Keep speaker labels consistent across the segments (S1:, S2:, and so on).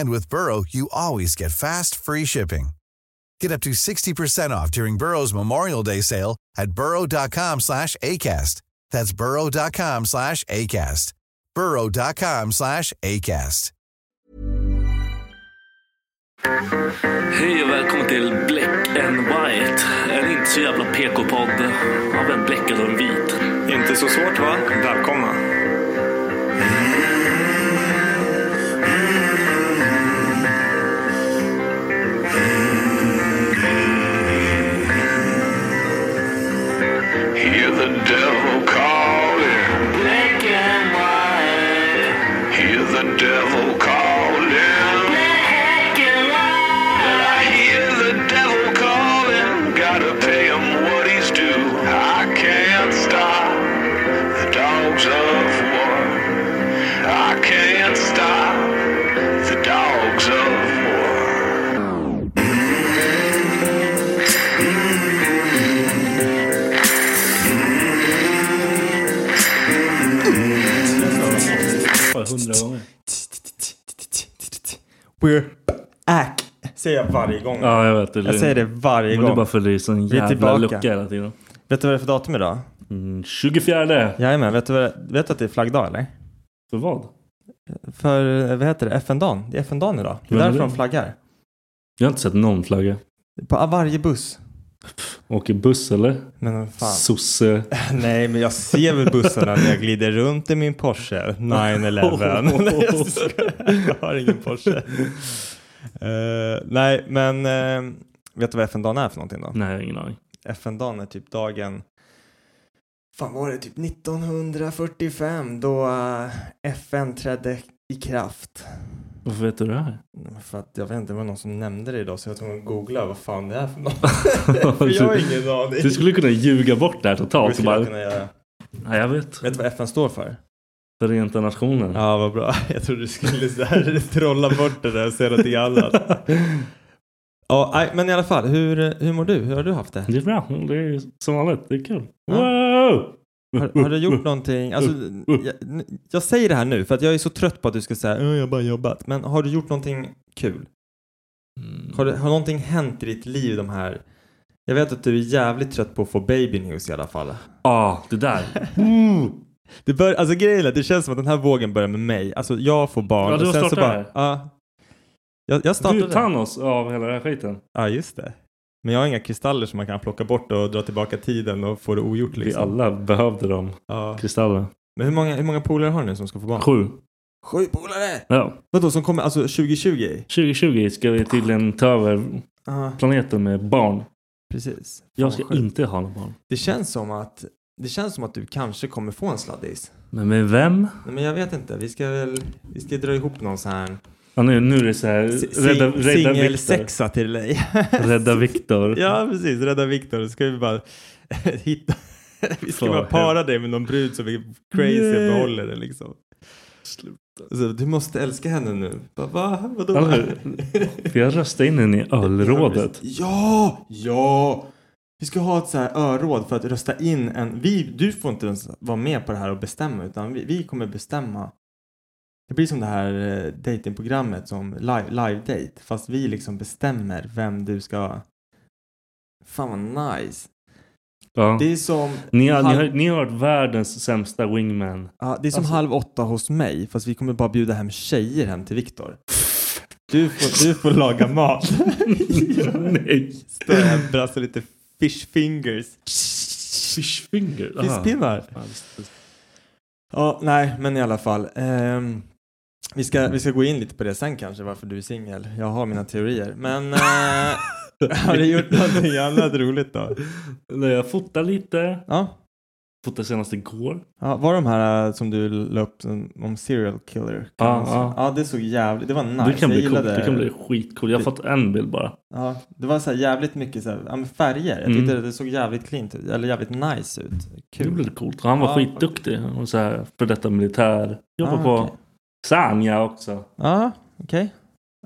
S1: And with Burrow, you always get fast, free shipping. Get up to 60% off during Burrow's Memorial Day sale at burrow.com slash ACAST. That's burrow.com slash ACAST. burrow.com slash ACAST.
S2: Hej och välkommen till Black and White. En inte så jävla PK-podd av en bläckad och en vit.
S3: Inte så svårt va? Välkomna.
S4: Hear the devil calling. Black and white. Hear the devil calling. Black and white. I hear the devil calling. Gotta pay him what he's due. I can't stop the dogs of war. I can't stop the dogs of war.
S2: Bara hundra gånger.
S5: We're back. Säger jag varje gång.
S2: Ja, jag vet. Det,
S5: Jag säger det varje
S2: Men det är
S5: gång.
S2: bara för att det är sån
S5: Vi är
S2: jävla
S5: tillbaka.
S2: lucka hela tiden.
S5: Vet du vad det är för datum idag?
S2: Mm, 24.
S5: Jajamän, vet du, vad- vet du att det är flaggdag eller?
S2: För vad?
S5: För, eh, vad heter det, FN-dagen? Det är FN-dagen idag. Det
S2: Men
S5: är därför
S2: det-
S5: de flaggar.
S2: Jag har inte sett någon flagga.
S5: På varje buss.
S2: Åker buss eller?
S5: Men vad fan.
S2: Sosse.
S5: Nej, men jag ser väl bussarna när jag glider runt i min Porsche 911. Nej, jag skojar. jag har ingen Porsche. Eh, nej, men eh, vet du vad FN-dagen är för någonting då?
S2: Nej, jag har ingen aning.
S5: FN-dagen är typ dagen Fan var det typ 1945 då eh, FN trädde i kraft.
S2: Varför vet du det här?
S5: För att jag vet inte, det var någon som nämnde det idag så jag var tvungen att googla vad fan det är för något. för jag har ingen aning.
S2: Du skulle kunna ljuga bort det här
S5: Hur
S2: totalt. och
S5: skulle jag
S2: Bara,
S5: kunna göra?
S2: Nej, jag vet.
S5: Vet du vad FN står för?
S2: Förenta Nationerna.
S5: Ja, vad bra. Jag trodde du skulle så här, trolla bort det där och säga någonting annat. Ja, nej, men i alla fall, hur, hur mår du? Hur har du haft det?
S2: Det är bra. Det är som vanligt. Det är kul.
S5: Ja.
S2: Wow!
S5: Har, har du gjort någonting? Alltså,
S2: uh.
S5: jag, jag säger det här nu för att jag är så trött på att du ska säga "Ja, jag har bara jobbat. Men har du gjort någonting kul?
S2: Mm.
S5: Har, du, har någonting hänt i ditt liv de här... Jag vet att du är jävligt trött på att få baby news i alla fall.
S2: Ja, det där.
S5: Det, bör, alltså, grejen är att det känns som att den här vågen börjar med mig. Alltså jag får barn
S2: Ja, du har
S5: och sen så
S2: startat
S5: bara...
S2: det
S5: Ja, jag, jag startade.
S2: Du är Thanos av hela den här skiten.
S5: Ja, just det. Men jag har inga kristaller som man kan plocka bort och dra tillbaka tiden och få det ogjort liksom.
S2: Vi alla behövde dem.
S5: Ja.
S2: Kristaller.
S5: Men hur många, hur många polare har ni som ska få barn?
S2: Sju.
S5: Sju polare!
S2: Ja.
S5: Vadå, som kommer alltså 2020?
S2: 2020 ska vi tydligen ta över
S5: Ja,
S2: planeten med barn.
S5: precis.
S2: Jag
S5: Fan,
S2: ska
S5: vad sjukt.
S2: inte ha några barn.
S5: Det känns som att det känns som att du kanske kommer få en sladdis.
S2: Men med vem?
S5: Nej, men jag vet inte. Vi ska väl vi ska dra ihop någon sån här
S2: Ja, nu, nu är det så här.
S5: si-
S2: Rädda,
S5: si-
S2: rädda Viktor.
S5: singelsexa till dig.
S2: Rädda Viktor.
S5: ja, precis. Rädda Viktor. Då ska vi bara hitta... Vi ska
S2: Fan,
S5: bara
S2: vad
S5: para dig med någon brud som är crazy och
S2: Nej.
S5: behåller det liksom. Så, du måste älska henne nu. Bara, va? Vadå?
S2: Eller hur? Vi har röstat in henne i ölrådet.
S5: Ja, ja. Vi ska ha ett så här öråd för att rösta in en. Vi, du får inte ens vara med på det här och bestämma utan vi, vi kommer bestämma. Det blir som det här eh, datingprogrammet som live, live date fast vi liksom bestämmer vem du ska. Fan vad nice.
S2: Ja.
S5: Det är som.
S2: Ni, har, ni,
S5: halv,
S2: har, ni har varit världens sämsta wingman.
S5: ja, det är som
S2: alltså-
S5: halv åtta hos mig fast vi kommer bara bjuda hem tjejer hem till Viktor. Du får, du får laga mat.
S2: Nej.
S5: Står här och brassar lite fish fingers.
S2: Fishfinger. Aha.
S5: Fiskpinnar.
S2: Fan, just det.
S5: Ja, nej, men i alla fall. Ehm, vi, ska, vi ska gå in lite på det sen kanske, varför du är singel. Jag har mina teorier. Men eh, har du gjort någonting annat roligt då?
S2: Nej, jag fotade lite.
S5: Ja.
S2: Fotade senast igår.
S5: Ja, var de här eh, som du la upp som- om serial killer?
S2: Ja,
S5: man säga.
S2: ja.
S5: ja, det såg jävligt, det var nice.
S2: det kan
S5: jag
S2: bli coolt.
S5: gillade
S2: Det kan bli skitcoolt. Jag har fått en bild bara.
S5: Ja, det var så här jävligt mycket så här, ja, men färger. Jag
S2: Mm.
S5: tyckte det såg jävligt cleant ut, eller jävligt nice ut.
S2: Det blev
S5: Kul.
S2: lite coolt. Han var
S5: Ja,
S2: skitduktig. Han var så här för detta militär. Jobbar
S5: Ah,
S2: på
S5: okej.
S2: Sanja också.
S5: Ja, okej.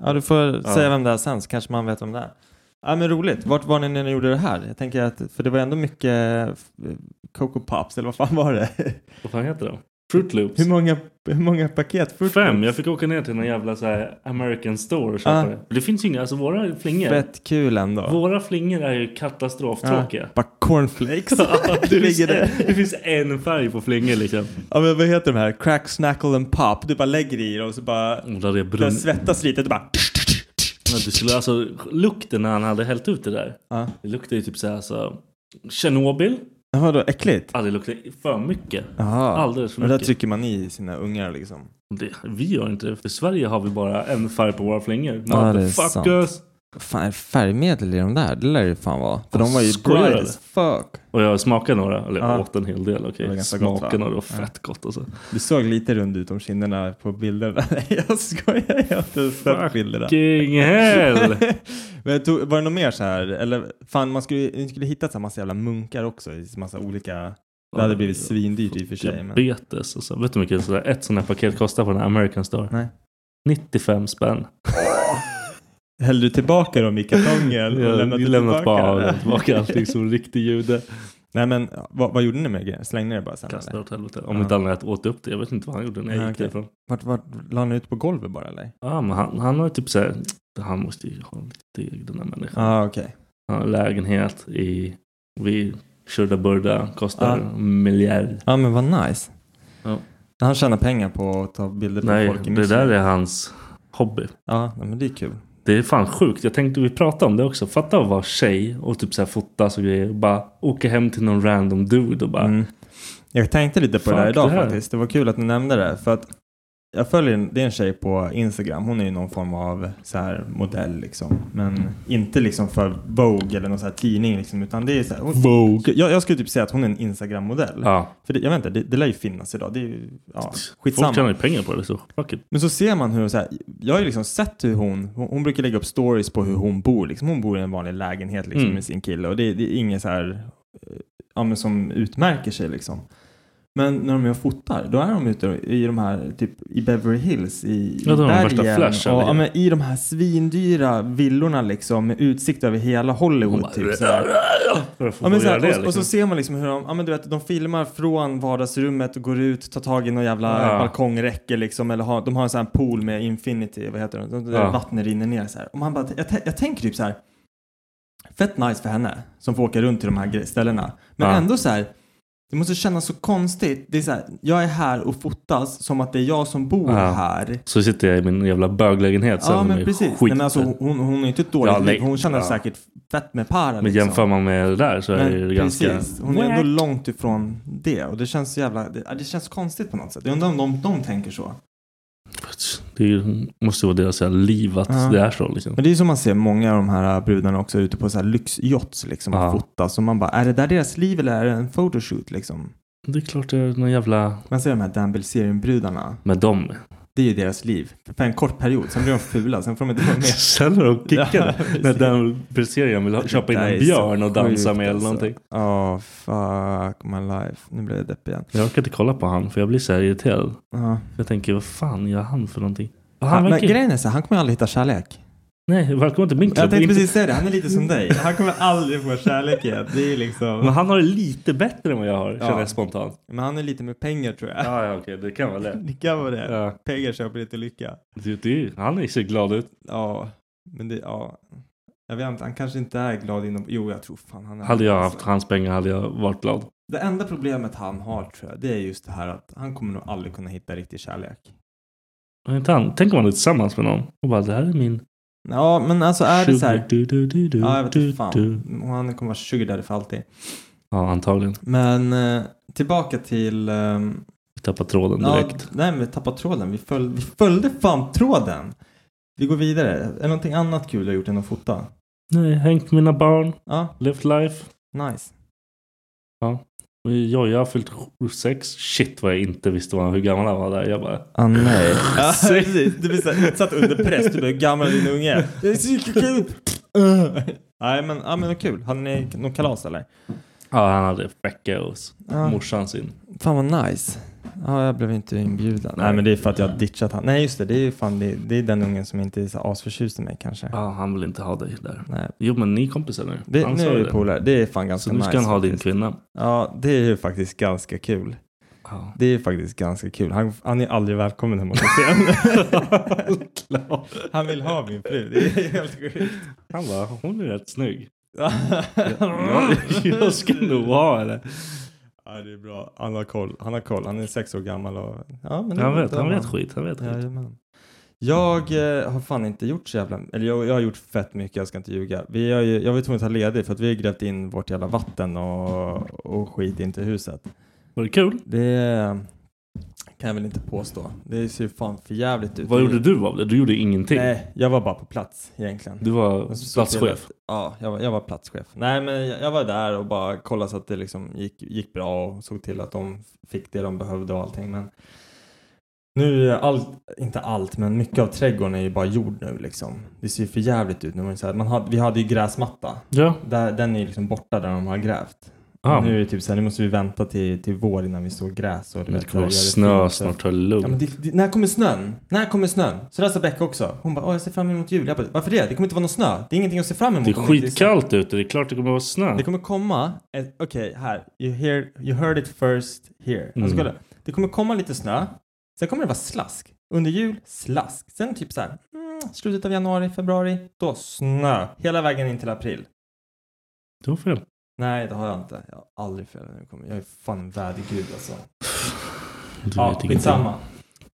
S5: Ja, du får
S2: Ja.
S5: säga vem det är sen så kanske man vet om det är. Ja, men roligt. Vart var ni när ni gjorde det här? Jag tänker att, för det var ändå mycket eh, Coco Pops, eller vad fan var det?
S2: Vad fan heter det? Fruit Loops.
S5: hur, många, hur många paket? Fruit
S2: Fem.
S5: Loops?
S2: Jag fick åka ner till någon jävla så här American store och köpa
S5: Ah.
S2: det. Det finns ju inga. Alltså våra flingor.
S5: Fett kul ändå.
S2: Våra flingor är ju katastroftråkiga.
S5: Bara cornflakes.
S2: det,
S5: det
S2: finns
S5: Ah. ligger
S2: en,
S5: där.
S2: det finns en färg på flingor liksom.
S5: Ja, men vad heter de här? Crack, snackle and pop. Du bara lägger i det och så bara...
S2: Odlar det brun...
S5: Den svettas lite och du bara...
S2: Men du skulle alltså... Lukten när han hade hällt ut det där.
S5: Ja.
S2: Det luktar ju typ så här så... Tjernobyl.
S5: Ja, Vadå, äckligt?
S2: Ja, det luktar för mycket.
S5: Jaha.
S2: Alldeles för
S5: Men där
S2: mycket.
S5: trycker man i sina ungar liksom.
S2: Det, vi gör inte det. För Sverige har vi bara en färg på våra flingor.
S5: Ja, det är
S2: Motherfuckers!
S5: Fan, är det färgmedel i de där? Det lär det fan vara. För de var ju
S2: Skojar
S5: bright
S2: du?
S5: as fuck.
S2: och jag smakade några. Eller
S5: Ja.
S2: åt en hel del.
S5: Det var
S2: Okej.
S5: ganska gott,
S2: Smaken
S5: va?
S2: och det var
S5: Ja.
S2: fett gott alltså.
S5: Du såg lite rund ut om kinderna på bilderna. Nej, jag skojar. Jag har inte sett bilderna.
S2: Fucking hell!
S5: Men jag tog, var det något mer så här? Eller fan, man skulle, ni skulle hitta så här massa jävla munkar också i massa olika... Det hade blivit svindyrt i och för sig. Men...
S2: Diabetes. Alltså. Vet du hur mycket sådär, ett sånt här paket kostar på den här American Store?
S5: Nej.
S2: 95 spänn.
S5: Hällde du tillbaka dem i kartongen? och
S2: Jag
S5: lämnade
S2: lämnat
S5: tillbaka?
S2: bara lämnat tillbaka allting som en riktig jude.
S5: Nej, men vad, vad gjorde ni med grejen? Slängde ni det bara sen?
S2: Kastade
S5: Eller?
S2: åt helvete. Om
S5: Ja.
S2: inte annat åt upp det. Jag vet inte vad han gjorde när jag
S5: Ja,
S2: gick
S5: okej.
S2: därifrån.
S5: Vart, vart, la ni ut på golvet bara eller?
S2: Ja, men han, han har ju typ såhär. Han måste ju ha lite deg den här människan.
S5: Ja, okej.
S2: Han har lägenhet i, vid Shurdaburda. Kostar
S5: Ja.
S2: en miljard.
S5: Ja, men vad nice.
S2: Ja.
S5: Han tjänar pengar på att ta bilder på
S2: Nej,
S5: folk i
S2: det
S5: Missing.
S2: där är hans hobby.
S5: Ja, nej, men det är kul.
S2: Det är fan sjukt. Jag tänkte vi pratade om det också. Fatta att vara tjej och typ så här fotas och grejer. Och bara åka hem till någon random dude och bara.
S5: Mm. Jag tänkte lite på
S2: Fuck
S5: det där idag
S2: det här.
S5: faktiskt. Det var kul att du nämnde det. För att jag följer en, det är en tjej på Instagram. Hon är ju någon form av så här modell liksom. Men inte liksom för Vogue eller någon så här tidning liksom. Utan det är så här, hon, Vogue. Jag, jag skulle typ säga att hon är en Instagram-modell.
S2: Ja.
S5: För det, jag vet inte, det, det lär ju finnas idag. Det är ju, ja, skitsamma.
S2: Folk tjänar ju pengar på det så fuck it.
S5: Men så ser man hur, så här, jag har ju liksom sett hur hon, hon, hon brukar lägga upp stories på hur hon bor. Liksom. Hon bor i en vanlig lägenhet liksom,
S2: Mm.
S5: med sin kille och det, det är inget så här, eh, ja, men som utmärker sig liksom. Men när de är och fotar, då är de ute i de här, typ i Beverly Hills, i
S2: Ja, då har de värsta
S5: bergen.
S2: flashen,
S5: och, ja,
S2: liksom.
S5: men I de här svindyra villorna liksom, med utsikt över hela Hollywood. typ, så här.
S2: För att få
S5: Ja, men så
S2: göra
S5: här,
S2: det
S5: och, och så ser man liksom hur de, ja, men du vet, de filmar från vardagsrummet och går ut, tar tag i någon jävla
S2: Ja.
S5: balkongräcke liksom. Eller har, de har en sån här pool med infinity, vad heter det? De, där
S2: Ja.
S5: Vattnet rinner ner så här. Och man bara, jag, tän- jag tänker typ så här. Fett nice för henne som får åka runt till de här gre- ställena. Men
S2: Ja.
S5: ändå så här. Det måste kännas så konstigt. Det är så här, jag är här och fotas som att det är jag som bor
S2: Ja.
S5: här.
S2: Så sitter jag i min jävla böglägenhet sen
S5: Ja
S2: och
S5: men
S2: är
S5: precis. Nej, men alltså, hon, hon är inte ett dåligt
S2: Ja, nej.
S5: liv. Hon känner
S2: Ja.
S5: säkert fett med para.
S2: Men
S5: liksom.
S2: jämför man med det där så är det
S5: Men
S2: ju ganska...
S5: precis, hon är ändå långt ifrån det och det känns så jävla, det, ja, det känns konstigt på något sätt. Jag undrar om de, de tänker så.
S2: Det är ju, måste ju vara deras jävla liv att
S5: Ja.
S2: det är så liksom.
S5: Men det är ju som man ser många av de här brudarna också ute på så här lyxyachts liksom och
S2: Ja.
S5: fotas och man bara, är det där deras liv eller är det en photoshoot liksom?
S2: Det är klart det är någon jävla...
S5: Man ser de här Dan Bilzerian-brudarna.
S2: Med dem.
S5: Det är ju deras liv. För en kort period, sen blir de fula, sen får de inte vara med.
S2: Sen är de kickade.
S5: Ja,
S2: när den preciseringen vill ha- köpa in en björn och dansa med
S5: alltså.
S2: eller någonting.
S5: Ja, fuck my life. Nu blir jag deppig igen.
S2: Jag orkar inte kolla på han för jag blir så här irriterad.
S5: Ja.
S2: Jag tänker vad fan gör han för någonting? Och
S5: Han,
S2: han
S5: men
S2: verkar,
S5: grejen är så här, han kommer aldrig hitta kärlek.
S2: Nej, välkommen till min klubb.
S5: Jag tänkte
S2: Inte-
S5: precis säga det, han är lite som dig. Han kommer aldrig få kärlek igen. Det är ju liksom...
S2: Men han har det lite bättre än vad jag har
S5: Ja.
S2: känner jag spontant.
S5: Men han är lite med pengar tror jag.
S2: Ja, ja okej det kan vara det.
S5: Det kan vara det.
S2: Ja.
S5: Pengar köper lite lycka.
S2: Det, det. Han ser glad ut.
S5: Ja, men det, ja. Jag vet inte, han kanske inte är glad inom... Jo, jag tror fan han är
S2: Hade jag
S5: Alltså,
S2: haft hans pengar hade jag varit glad.
S5: Det enda problemet han har tror jag, det är just det här att han kommer nog aldrig kunna hitta riktig kärlek.
S2: Men inte han. Tänk om han är tillsammans med någon och bara det här är min...
S5: Ja, men alltså är det så här...
S2: Du, du, du, du,
S5: Ja, jag vet
S2: du,
S5: inte fan.
S2: du.
S5: Och Han kommer vara sugar daddy för alltid.
S2: Ja, antagligen.
S5: Men eh, tillbaka till... ehm,
S2: Vi tappar tråden
S5: ja,
S2: direkt.
S5: nej, men vi tappade tråden. Vi, följ, vi följde fan tråden. Vi går vidare. Är det någonting annat kul du har gjort än att fota?
S2: Nej, hängt med mina barn.
S5: Ja,
S2: Left life.
S5: nice.
S2: Och Jag, jag har fyllt sju- sex. Shit vad jag inte visste vad, hur gammal han var där. Jag bara...
S5: Ah, nej. ja,
S2: Sex.
S5: precis. Du blir så här, satt under press. Du bara, hur gammal är din unge? Det är så kul. Uh. Nej, men, ja, men vad kul. Hade ni någon kalas eller?
S2: Ja, han hade vecka hos
S5: Ja.
S2: morsan sin.
S5: Fan vad nice. Ja, jag blev inte inbjuden. Nej, men det är för att jag har ditchat han. Nej, just det. Det är ju fan, det, det är den ungen som inte är så asförtjust i mig kanske.
S2: Ja, han vill inte ha dig där.
S5: Nej.
S2: Jo, men ni är kompisar nu.
S5: Det,
S2: han
S5: nu
S2: sa
S5: är vi
S2: det.
S5: polare. Det är fan ganska
S2: Så nu ska
S5: nice.
S2: han ha din
S5: faktiskt.
S2: kvinna.
S5: Ja, det är ju faktiskt ganska kul.
S2: Ja.
S5: Det är ju faktiskt ganska kul. Han, han är aldrig välkommen hem hos oss igen. han vill ha min fru. Det är helt sjukt.
S2: Han bara, hon är rätt snygg. Jag, jag ska nog ha henne.
S5: Ja, det är bra. Han har koll. Han har koll. Han är sex år gammal och... Ja, men det
S2: Han
S5: är
S2: vet,
S5: bra,
S2: han
S5: man.
S2: vet skit. Han vet skit.
S5: Jajamän. Jag eh, har fan inte gjort så jävla... Eller jag, jag har gjort fett mycket, jag ska inte ljuga. Vi har ju, jag var ju tvungen att ta ledigt för att vi har grävt in vårt jävla vatten och, och skit in till huset.
S2: Var det kul?
S5: Det kan jag väl inte påstå. Det ser ju fan för jävligt ut.
S2: Vad gjorde du av det? Du gjorde ingenting.
S5: Nej, jag var bara på plats egentligen.
S2: Du var
S5: Jag såg till
S2: platschef.
S5: att- Ja, jag var, jag var platschef. Nej, men jag, jag var där och bara kollade så att det liksom gick, gick bra och såg till att de fick det de behövde och allting. Men nu är allt, inte allt, men mycket av trädgården är ju bara jord nu liksom. Det ser ju för jävligt ut. Nu var det så här, man hade, vi hade ju gräsmatta.
S2: Ja.
S5: Där, den är ju liksom borta där de har grävt.
S2: Ah.
S5: Nu är det typ så här, nu måste vi vänta till, till vår innan vi såg gräs. Och du
S2: Men det
S5: vet, så här,
S2: kommer vara
S5: gör det
S2: snö
S5: fint.
S2: snart, ta det
S5: Ja, men
S2: lugnt.
S5: det, det, när kommer snön? När kommer snön? Så där sa Becka också. Hon bara, "Åh, jag ser fram emot jul. Jag bara, varför det? Det kommer inte vara någon snö. Det är ingenting att se fram emot.
S2: Det är
S5: om det inte snö."
S2: skitkallt ute, det är klart det kommer vara snö.
S5: Det kommer komma, ett- okej här, you, hear, you heard it first here. Alltså,
S2: Mm.
S5: kolla. Det kommer komma lite snö, sen kommer det vara slask. Under jul, slask. Sen typ så här, mm, slutet av januari, februari, då snö. Hela vägen in till april.
S2: Du har fel.
S5: Nej, det har jag inte. Jag har aldrig fel. när det kommer. Jag är fan en vädergud alltså.
S2: Du
S5: Ja,
S2: vet ingenting.
S5: skitsamma.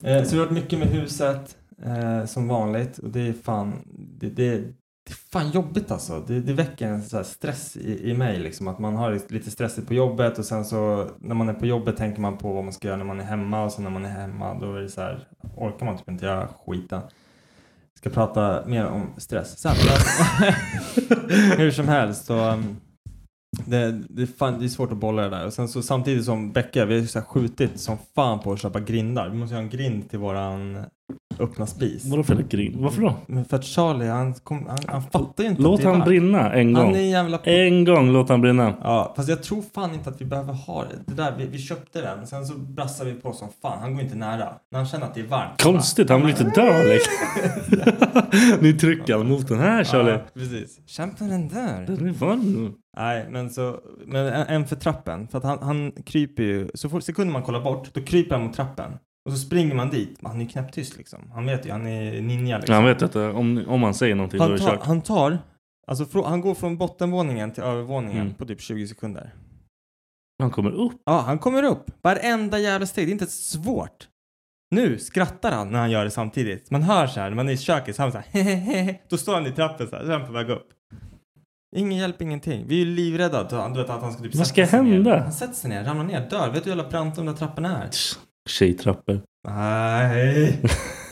S5: Eh, så vi har varit mycket med huset eh, som vanligt och det är fan, det, det, det är fan jobbigt alltså. Det, det väcker en så här stress i, i mig liksom att man har lite stressigt på jobbet och sen så när man är på jobbet tänker man på vad man ska göra när man är hemma och sen när man är hemma då är det så här orkar man typ inte göra skiten. Ska prata mer om stress sen. Men, hur som helst så um, det, det, är fan, det är svårt att bolla det där. Och sen så samtidigt som Becka, vi har ju så här skjutit som fan på att köpa grindar. Vi måste ju ha en grind till våran öppna spis.
S2: Vadå för en grin? Varför då?
S5: Men för att Charlie, han, kom, han, han fattar ju inte att
S2: Låt
S5: det är
S2: han
S5: varmt.
S2: brinna en
S5: Han
S2: gång.
S5: är en jävla...
S2: En gång låt han brinna.
S5: Ja, fast jag tror fan inte att vi behöver ha det. det där, vi, vi köpte den, sen så brassar vi på som fan. Han går inte nära. När han känner att det är varmt.
S2: Konstigt, han blir lite dö liksom. Nu trycker han mot den här Charlie.
S5: Ja, precis. Kämpa med den där.
S2: Den är varm nu.
S5: Nej, men så... Men en, en för trappen. För att han, han kryper ju... Så fort sekunden man kollar bort, då kryper han mot trappen. Och så springer man dit. Men han är ju knäpptyst liksom. Han vet ju, han är ninja liksom.
S2: Han vet att eh, om, om han säger någonting då är
S5: Han
S2: det
S5: tar,
S2: kört.
S5: han tar... Alltså frå, han går från bottenvåningen till övervåningen
S2: Mm.
S5: på typ 20 sekunder.
S2: Han kommer upp.
S5: Ja, han kommer upp. Varenda jävla steg. Det är inte svårt. Nu skrattar han när han gör det samtidigt. Man hör så här, när man är i köket så hör man så här hehehe. Då står han i trappen så här, så är han på väg upp. Ingen hjälp, ingenting. Vi är ju livrädda. att han- Du vet att han ska typ
S2: Vad
S5: sätta
S2: ska
S5: sig ner.
S2: hända?
S5: Han sätter sig ner, ramlar ner, dör. Vet du hur jävla brant de där trapporna är?
S2: Tjejtrappor.
S5: Nej.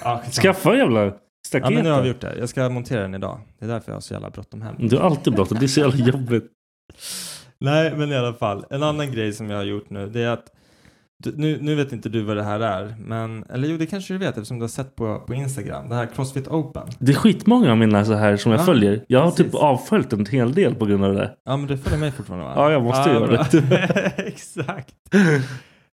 S5: Ja, skitsamma.
S2: Skaffa en jävla
S5: ja,
S2: staket.
S5: men nu har vi
S2: då.
S5: gjort det. Jag ska montera den idag. Det är därför jag har så jävla bråttom hem.
S2: Du har alltid bråttom, det är så jävla jobbigt.
S5: Nej, men i alla fall. En annan grej som jag har gjort nu det är att Du, nu, nu vet inte du vad det här är, men eller jo det kanske du vet eftersom du har sett på, på Instagram, det här Crossfit Open.
S2: Det är skitmånga av mina så här som jag
S5: Ja,
S2: följer. Jag har typ
S5: precis.
S2: avföljt en hel del på grund av det.
S5: Ja men du följer mig fortfarande va?
S2: Ja, jag måste göra
S5: bra.
S2: det.
S5: Exakt.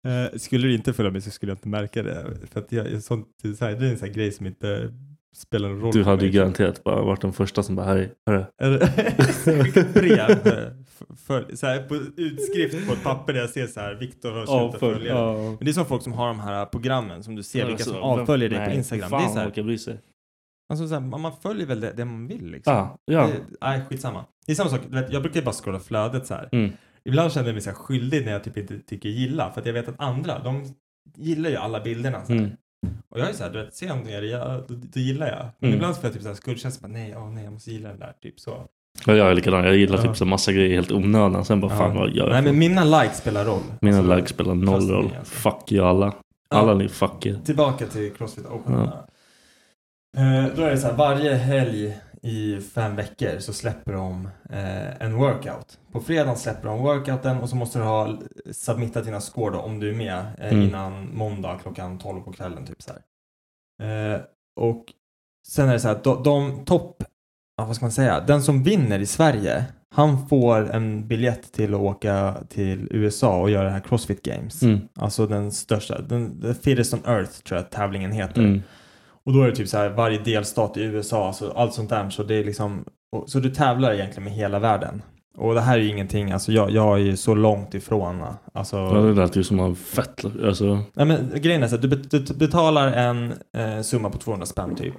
S5: Eh, skulle du inte följa mig så skulle jag inte märka det. För att jag, jag, sånt, det, är så här, det är en sån här grej som inte spelar någon roll.
S2: Du
S5: för
S2: hade
S5: mig.
S2: ju garanterat bara varit den första som bara hörru, hörru.
S5: Eller- Skicka ett brev. eh, f- För, så här, på utskrift på ett papper där jag ser så här, Viktor har
S2: Ja,
S5: slutat
S2: följ-
S5: följa
S2: ja.
S5: dig." Men det är som folk som har de här programmen som du ser vilka
S2: Alltså,
S5: som
S2: vem-
S5: avföljer dig på
S2: nej,
S5: Instagram.
S2: Fan,
S5: det är så här,
S2: orkar bry sig.
S5: Alltså så här, man man följer väl det, det man vill liksom.
S2: Ja, ja.
S5: Det, nej, skitsamma. Det är samma sak, du vet, jag brukar ju bara scrolla flödet så här.
S2: Mm.
S5: Ibland känner jag mig så här skyldig när jag typ inte tycker gilla. För att jag vet att andra, de gillar ju alla bilderna. Så här.
S2: Mm.
S5: Och jag är så här, du vet, ser jag någonting jag gillar, då, då gillar jag. Men
S2: Mm.
S5: ibland så får jag typ så här skuldkänsla, bara, nej, åh nej, jag måste gilla den där, typ så.
S2: Ja, jag är likadan. Jag gillar
S5: Ja.
S2: typ så massa grejer helt onödan. Sen bara
S5: Ja.
S2: fan vad gör jag?
S5: Nej, men mina likes spelar roll.
S2: Mina
S5: Alltså,
S2: lag spelar noll
S5: fast
S2: roll.
S5: det, alltså.
S2: Fuck you alla.
S5: Ja.
S2: Alla ni fuck you.
S5: Tillbaka till Crossfit Open.
S2: Ja.
S5: Eh, då är det så här, varje helg i fem veckor så släpper de eh, en workout. På fredagen släpper de workouten och så måste du ha l- submittat dina score då, om du är med eh,
S2: Mm.
S5: innan måndag klockan 12 på kvällen. Typ så här. Eh, och sen är det så här, att de, de topp, ja, vad ska man säga, den som vinner i Sverige han får en biljett till att åka till USA och göra det här Crossfit Games.
S2: Mm.
S5: Alltså den största, den, the fittest on earth tror jag tävlingen heter.
S2: Mm.
S5: Och då är det typ så här varje delstat i USA, alltså allt sånt där. Så det är liksom, och, så du tävlar egentligen med hela världen. Och det här är ju ingenting, alltså jag, jag är ju så långt ifrån. Alltså,
S2: Ja, det lät ju som en fett... Alltså,
S5: Nej, men grejen är så att du, bet- du betalar en eh, summa på 200 spänn typ.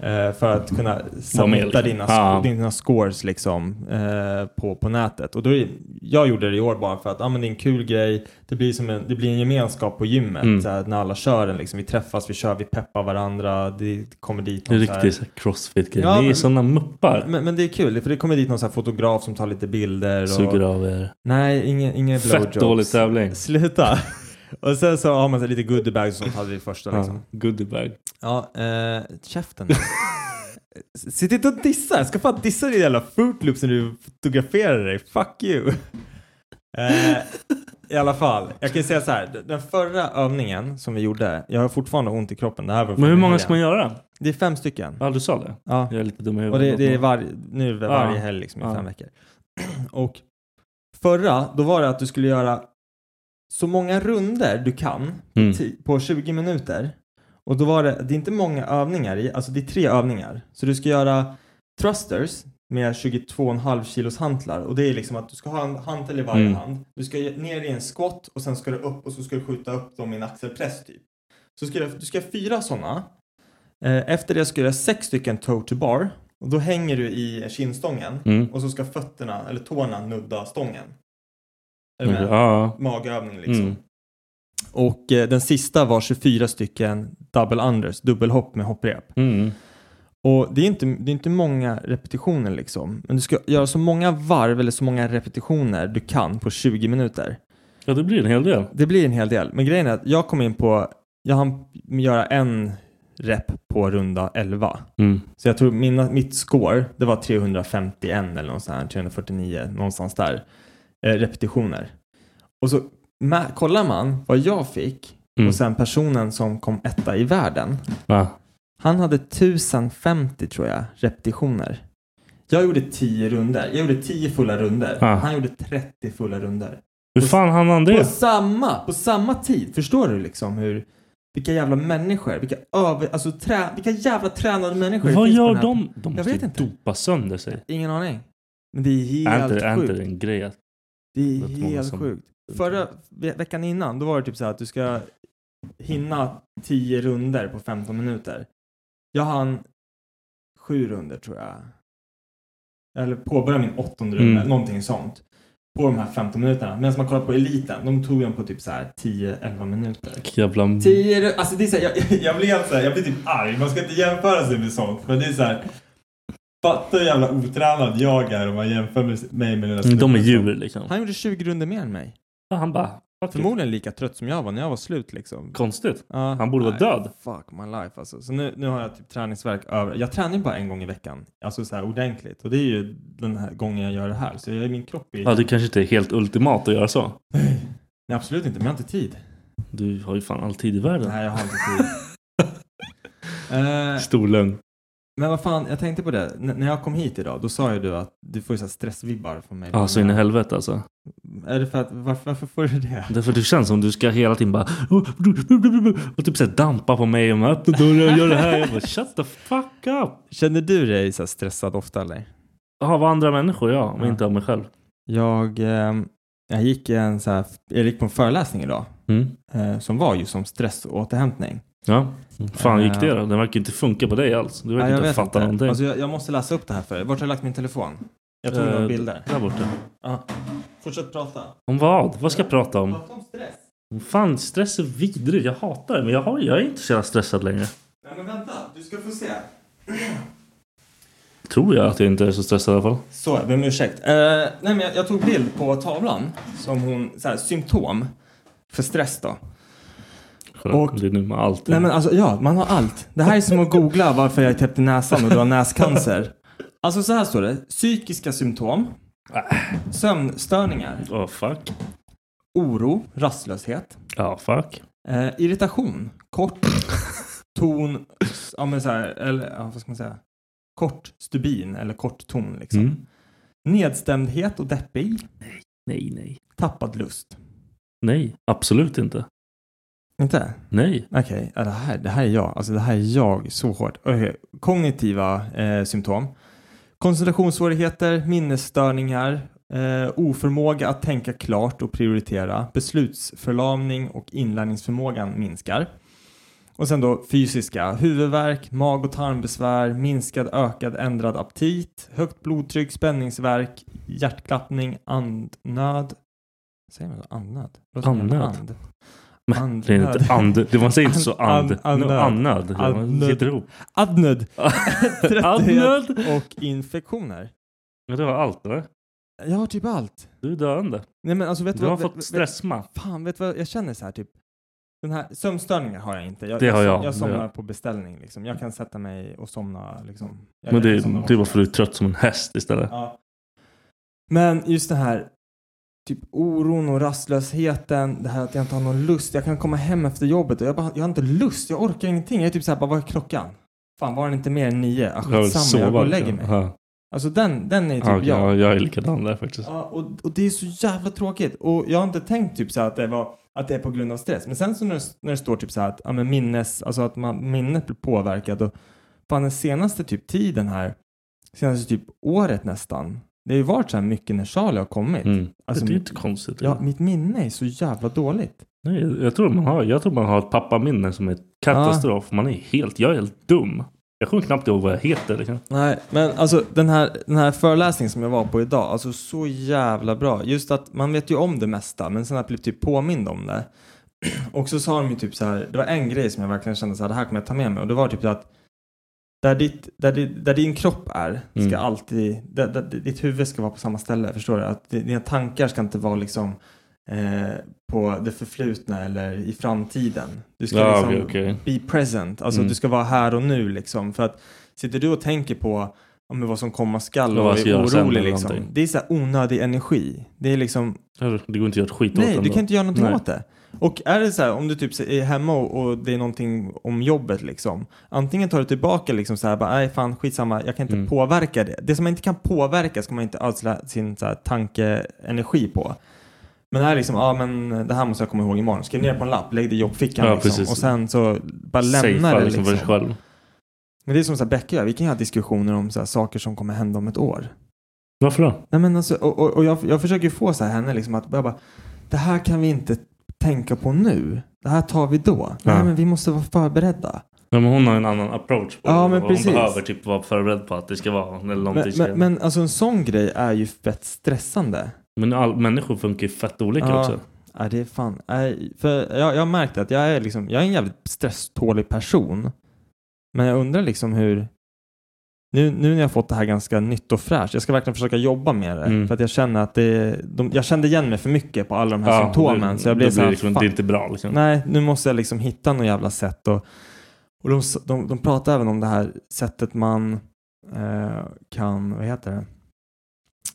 S5: Eh, för att kunna submitta
S2: liksom.
S5: dina,
S2: Ja.
S5: sk- dina scores liksom, eh, på, på nätet. Och då är, jag gjorde det i år bara för att ah, men det är en kul grej. Det blir, som en, det blir en gemenskap på gymmet
S2: Mm.
S5: så här, när alla kör den. Liksom. Vi träffas, vi kör, vi peppar varandra. Det kommer dit
S2: det är
S5: någon så här-
S2: riktigt så här crossfit-grej.
S5: Ja,
S2: Ni är
S5: men-
S2: såna muppar.
S5: men, men det är kul, för det kommer dit någon så här fotograf som tar lite bilder. Och...
S2: Suger av er.
S5: Nej, inga, inga
S2: Fett
S5: blowjobs.
S2: dålig tävling.
S5: Sluta. Och sen så har man så här lite goodiebags och sånt hade vi i första liksom.
S2: Ja, goodiebag.
S5: Ja, eh, käften. Sitt inte och dissa. Jag ska fan dissa din jävla footloop när du fotograferar dig. Fuck you. Eh, I alla fall, jag kan ju säga så här. Den förra övningen som vi gjorde, jag har fortfarande ont i kroppen. Det här var
S2: Men hur många ska man göra?
S5: Det är fem stycken.
S2: Ja, du sa det.
S5: Ja.
S2: Jag är lite dum i
S5: Och
S2: huvudet.
S5: det, det är varje, nu är det varje
S2: Ja.
S5: helg liksom i
S2: Ja.
S5: fem veckor. Och förra, då var det att du skulle göra så många runder du kan
S2: Mm.
S5: ti- på 20 minuter. Och då var det, det är inte många övningar i, alltså det är tre övningar. Så du ska göra thrusters med 22,5 kilos hantlar och det är liksom att du ska ha en hantel i varje
S2: Mm.
S5: hand. Du ska ge- ner i en squat och sen ska du upp och så ska du skjuta upp dem i en axelpress typ. Så ska du, du ska ha fyra sådana. Eh, efter det ska du göra sex stycken toe to bar och då hänger du i kindstången
S2: Mm.
S5: och så ska fötterna eller tårna nudda stången. Är du
S2: Ja,
S5: med?
S2: ja.
S5: Magövning liksom.
S2: Mm.
S5: Och eh, den sista var 24 stycken double unders, dubbelhopp med hopprep.
S2: Mm.
S5: Och det är, inte, det är inte många repetitioner liksom. Men du ska göra så många varv eller så många repetitioner du kan på 20 minuter.
S2: ja, det blir en hel del.
S5: Det blir en hel del. Men grejen är att jag kom in på, jag hann göra en rep på runda 11.
S2: Mm.
S5: Så jag tror mina, mitt score, det var 351 eller något sånt här, 349, någonstans där. Eh, repetitioner. Och så mä- kollar man vad jag fick
S2: Mm.
S5: och sen personen som kom etta i världen.
S2: Ja.
S5: Han hade 1050 tror jag, repetitioner. Jag gjorde 10 runder. Jag gjorde 10 fulla runder.
S2: Ah.
S5: Han gjorde 30 fulla runder.
S2: Hur fan hann han
S5: På
S2: det?
S5: samma, på samma tid. Förstår du liksom hur... Vilka jävla människor. Vilka över... Alltså trä, vilka jävla tränade människor. det
S2: Vad
S5: finns på
S2: gör
S5: den här-
S2: de? De
S5: Jag
S2: måste
S5: vet
S2: ju
S5: inte.
S2: dopa sönder sig.
S5: Ingen aning. Men det är
S2: Är
S5: helt
S2: inte, är inte
S5: sjukt.
S2: det en grej att...
S5: Det är
S2: Vet många
S5: helt
S2: som-
S5: sjukt. Förra ve veckan innan, då var det typ så här att du ska hinna 10 runder på 15 minuter. Jag hann sju runder tror jag. Eller påbörja min åttonde runda,
S2: Mm.
S5: någonting sånt. På de här 15 minuterna. Medan man kollar på eliten, de tog den på typ så här 10-11 minuter.
S2: Jävla...
S5: 10 ru- alltså det är så här, jag, jag blir helt så här, jag blir typ arg. Man ska inte jämföra sig med sånt. Men det är så här, fatta hur jävla otränad jag är om man jämför med- mig med den där
S2: Mm, De är
S5: snubben som-
S2: djur liksom.
S5: han gjorde 20 runder mer än mig.
S2: Ja, Han bara... Fuck it.
S5: Förmodligen lika trött som jag var när jag var slut liksom.
S2: Konstigt.
S5: Ja.
S2: Han borde vara
S5: Nej,
S2: död.
S5: Fuck my life alltså. Så nu, nu har jag typ träningsvärk över. Jag tränar ju bara en gång i veckan. Alltså så här ordentligt. Och det är ju den här gången jag gör det här. Så jag, min kropp är...
S2: Ja, det kanske inte är helt ultimat att göra så.
S5: Nej absolut inte, men jag har inte tid.
S2: Du har ju fan all tid i världen.
S5: Nej, jag har inte tid. Eh,
S2: Stor lögn.
S5: men vad fan, jag tänkte på det. N- när jag kom hit idag, då sa ju du att du får ju så här stressvibbar från mig.
S2: Ja, så in i helvete alltså.
S5: Är det för att, varför, varför får du det?
S2: Därför det känns som du ska hela tiden bara... Och typ såhär dampa på mig och bara öppna dörren och gör det här. Jag bara shut the fuck up.
S5: Känner du dig så här stressad ofta eller?
S2: Jaha, vad andra människor ja, men
S5: Ja.
S2: inte av mig själv.
S5: Jag, ehm, jag, gick en så här, jag gick på en föreläsning idag
S2: Mm.
S5: eh, som var just om stress och återhämning.
S2: Ja, fan gick
S5: Eh.
S2: det då? Den verkar inte funka på dig alls. Du
S5: Ja,
S2: verkar
S5: jag
S2: inte
S5: vet
S2: fatta någonting.
S5: Alltså, jag, jag måste läsa upp det här för er. Vart har jag lagt min telefon? Jag tog
S2: Eh,
S5: några bilder.
S2: Där borta.
S5: Ja. Fortsätt prata.
S2: Om vad? Vad ska jag prata om?
S5: Prata om stress.
S2: Fan, stress är vidrig. Jag hatar det. Men jag, har, jag är inte så jävla stressad längre.
S5: Nej men vänta, du ska få se.
S2: Tror jag att jag inte är så stressad i alla fall.
S5: Så, jag ber om ursäkt. Eh, nej men jag, jag tog bild på tavlan som hon, så här, symptom för stress då. Och-
S2: Och, det är nu med allt.
S5: Nej men alltså ja, man har allt. Det här är som att googla varför jag är täppt i näsan och du har näscancer. Alltså så här står det. Psykiska symptom. Sömnstörningar.
S2: Ja, fuck.
S5: Oro. Rastlöshet.
S2: Ja, fuck.
S5: Eh, irritation. Kort. Ton. Ja men så här, eller ja, vad ska man säga? Kort stubin eller kort ton liksom.
S2: Mm.
S5: Nedstämdhet och deppig.
S2: Nej, nej.
S5: Tappad lust.
S2: Nej, absolut inte.
S5: Inte?
S2: Nej.
S5: Okej, ja, det, här, det här är jag. Alltså det här är jag så hårt. Okej, Kognitiva eh, symptom. Koncentrationssvårigheter, minnesstörningar, eh, oförmåga att tänka klart och prioritera, beslutsförlamning och inlärningsförmågan minskar. Och sen då fysiska, huvudvärk, mag och tarmbesvär, minskad, ökad, ändrad aptit, högt blodtryck, spänningsvärk, hjärtklappning, andnöd. Säger man så? Andnöd? Låter som en
S2: Andnöd?
S5: And.
S2: Men Det är
S5: Andnöd.
S2: inte and. Det, man säger inte så and.
S5: An- an-
S2: No, Annöd. Man
S5: Annöd.
S2: sitter ihop.
S5: Adnöd.
S2: Annöd.
S5: och infektioner.
S2: Ja, du har allt, eller?
S5: Jag har typ allt.
S2: Du är döende.
S5: Nej men alltså vet
S2: Du har
S5: vad-
S2: fått
S5: vet-
S2: stressma.
S5: Vet, fan, vet du vad jag känner så här typ? Den här sömnstörningar har jag inte. Jag,
S2: Det har jag. Det
S5: Jag somnar
S2: har jag.
S5: på beställning liksom. Jag kan sätta mig och somna liksom. Jag
S2: Men det,
S5: kan somna
S2: det är typ
S5: ofta.
S2: bara för att du är trött som en häst istället.
S5: Ja. Men just den här typ oron och rastlösheten, det här att jag inte har någon lust. Jag kan komma hem efter jobbet och jag, bara, jag har inte lust, jag orkar ingenting. Jag är typ såhär, bara, vad är klockan? Fan, var den inte mer än nio? Ah,
S2: Jag vill
S5: skitsamma,
S2: sova.
S5: jag går och lägger
S2: liksom.
S5: mig.
S2: Ja.
S5: Alltså den, den är typ
S2: Ja, okej,
S5: jag.
S2: ja, jag är likadan där faktiskt.
S5: Ja, och, och det är så jävla tråkigt. Och jag har inte tänkt typ så här att det var att det är på grund av stress. Men sen så när det, när det står typ så här att ja, men minnes, alltså att man, minnet blir påverkat och fan den senaste typ tiden här, senaste typ året nästan. Det har ju varit så här mycket när Charlie har kommit.
S2: Mm.
S5: Alltså,
S2: det är ju inte konstigt.
S5: Ja, mitt minne är så jävla dåligt.
S2: Nej, jag, tror man har, jag tror man har ett pappaminne som är katastrof. Man är helt, jag är helt dum. Jag kommer knappt ihåg vad jag heter. Liksom.
S5: Nej, men alltså den här, den här föreläsningen som jag var på idag, alltså så jävla bra. Just att man vet ju om det mesta, men sen att bli typ påmind om det. Och så sa de ju typ så här, det var en grej som jag verkligen kände så här, det här kommer jag ta med mig. Och det var typ så att där, ditt, där, di- där din kropp är, ska
S2: Mm.
S5: alltid, där, där, ditt huvud ska vara på samma ställe, förstår du? Att di- dina tankar ska inte vara liksom eh, på det förflutna eller i framtiden. Du ska
S2: okej,
S5: liksom
S2: okej.
S5: be present. Alltså
S2: Mm.
S5: du ska vara här och nu liksom. För att sitter du och tänker på om vad som komma skall
S2: Ja,
S5: och
S2: vad ska
S5: är
S2: jag göra sen
S5: orolig
S2: eller
S5: liksom.
S2: någonting.
S5: Det är så här onödig energi. Det är liksom,
S2: Det går inte att göra ett skit åt
S5: nej du
S2: ändå.
S5: kan inte göra någonting
S2: Nej.
S5: åt det. Och är det så här, om du typ är hemma och, och det är någonting om jobbet liksom. Antingen tar du tillbaka liksom så här, bara, nej fan skitsamma, jag kan inte
S2: Mm.
S5: påverka det. Det som man inte kan påverka ska man inte ödsla sin så här, tankeenergi på. Men det här är liksom, ja men det här måste jag komma ihåg imorgon. Skriv ner på en lapp, lägg det i jobbfickan
S2: Ja,
S5: liksom.
S2: precis.
S5: Och sen så bara lämna
S2: Safea
S5: det
S2: liksom för dig
S5: liksom.
S2: själv.
S5: Men det är som så här Becka och jag, vi kan ju ha diskussioner om så här saker som kommer hända om ett år.
S2: Varför då?
S5: Nej, men alltså, och och, och jag, jag försöker ju få så här henne liksom att jag bara, det här kan vi inte tänka på nu. Det här tar vi då.
S2: Ja.
S5: Nej, men vi måste vara förberedda.
S2: Ja, men hon har en annan approach på
S5: Ja,
S2: det.
S5: men
S2: Hon
S5: precis.
S2: behöver typ vara förberedd på att det ska vara eller någonting.
S5: Men,
S2: ska
S5: men,
S2: hända.
S5: men alltså en sån grej är ju fett stressande.
S2: Men all, människor funkar ju fett olika
S5: Ja.
S2: också.
S5: Nej, det är fan. Nej, för jag, jag har märkt att jag är liksom, jag är en jävligt stresstålig person. Men jag undrar liksom hur, nu, nu när jag fått det här ganska nytt och fräscht, jag ska verkligen försöka jobba med det.
S2: Mm.
S5: För att jag känner att det, de, jag kände igen mig för mycket på alla de här
S2: Ja,
S5: symptomen.
S2: det-
S5: så jag blev
S2: det
S5: så här,
S2: liksom,
S5: fan,
S2: Det är inte bra liksom.
S5: nej, nu måste jag liksom hitta något jävla sätt. Och, och de, s- de, de pratar även om det här sättet man eh, kan, vad heter det?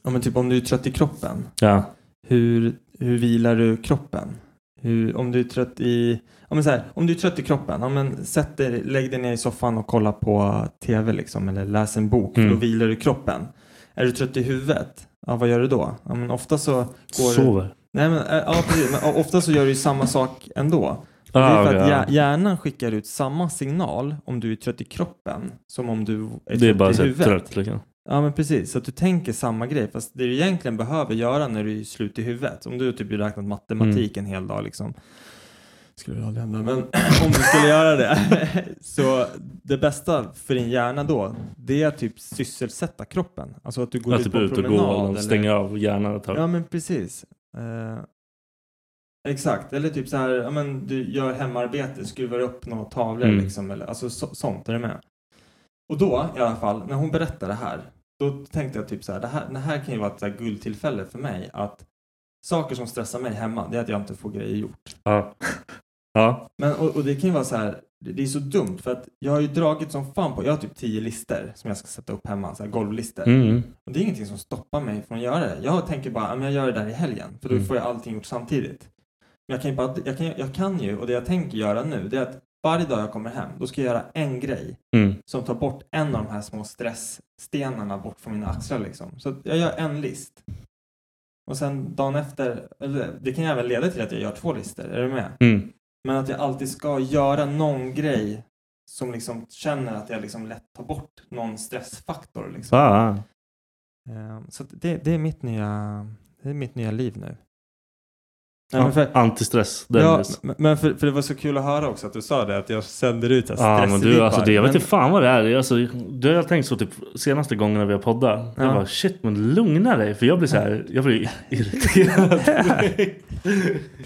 S5: Ja men typ om du är trött i kroppen,
S2: Ja.
S5: hur, hur vilar du kroppen? Hur, om du är trött i ja, men så här, om du är trött i kroppen, ja, men sätt dig, lägg dig ner i soffan och kolla på tv liksom, eller läs en bok. För
S2: Mm.
S5: då vilar du kroppen. Är du trött i huvudet, ja, vad gör du då? Ja, men ofta så går du...
S2: Sover.
S5: Nej, men, eh, ja, precis, men ofta så gör du ju samma sak ändå. Det
S2: Ah,
S5: är för
S2: okej,
S5: att
S2: ja.
S5: hjär- hjärnan skickar ut samma signal om du är trött i kroppen som om du är
S2: Det är bara
S5: trött
S2: så
S5: i
S2: här
S5: huvudet.
S2: trött liksom.
S5: Ja men precis, så att du tänker samma grej fast det du egentligen behöver göra när du är slut i huvudet, om du typ har räknat matematik
S2: Mm.
S5: en hel dag liksom, skulle det aldrig hända, men om du skulle göra det, så det bästa för din hjärna då, det är att typ sysselsätta kroppen. Alltså att du går
S2: Att
S5: ut
S2: typ
S5: på
S2: ut och
S5: promenad.
S2: gå och
S5: eller-
S2: stänga av hjärnan ett tag.
S5: Ja men precis. Eh, exakt, eller typ så här, ja, men du gör hemarbete, skruvar upp några tavlor
S2: Mm.
S5: liksom. Eller, alltså så, sånt, är du med? Och då i alla fall, när hon berättade det här, då tänkte jag typ så här, det här, det här kan ju vara ett så här guldtillfälle för mig att saker som stressar mig hemma, det är att jag inte får grejer gjort.
S2: Ja. ja.
S5: Men, och, och det kan ju vara så här, det, det är så dumt för att jag har ju dragit som fan på, jag har typ tio lister som jag ska sätta upp hemma, så här golvlister.
S2: Mm.
S5: Och det är ingenting som stoppar mig från att göra det. Jag tänker bara, "Ja, men jag gör det där i helgen, för då
S2: Mm.
S5: får jag allting gjort samtidigt. Men jag kan, ju bara, jag, kan, jag kan ju, och det jag tänker göra nu, det är att varje dag jag kommer hem, då ska jag göra en grej
S2: Mm.
S5: som tar bort en av de här små stressstenarna bort från mina axlar liksom. Så att jag gör en list. Och sen dagen efter, eller det kan ju även leda till att jag gör två listor, är du med?
S2: Mm.
S5: Men att jag alltid ska göra någon grej som liksom känner att jag liksom lätt tar bort någon stressfaktor liksom.
S2: Ah.
S5: Ehm, Så att det, det, är mitt nya, det är mitt nya liv nu. Nej, men
S2: Ja,
S5: för,
S2: Antistress. Den
S5: ja,
S2: just.
S5: m- men för, för det var så kul att höra också att du sa det, att jag sänder ut så här
S2: Ja, men du,
S5: stressvibbar.
S2: alltså, det, jag vet
S5: Men-
S2: inte fan vad det är. Alltså, det har jag tänkt så typ senaste gångerna vi har poddat.
S5: Ja.
S2: Jag bara shit men lugna dig. För jag blir så här, jag blir irriterad.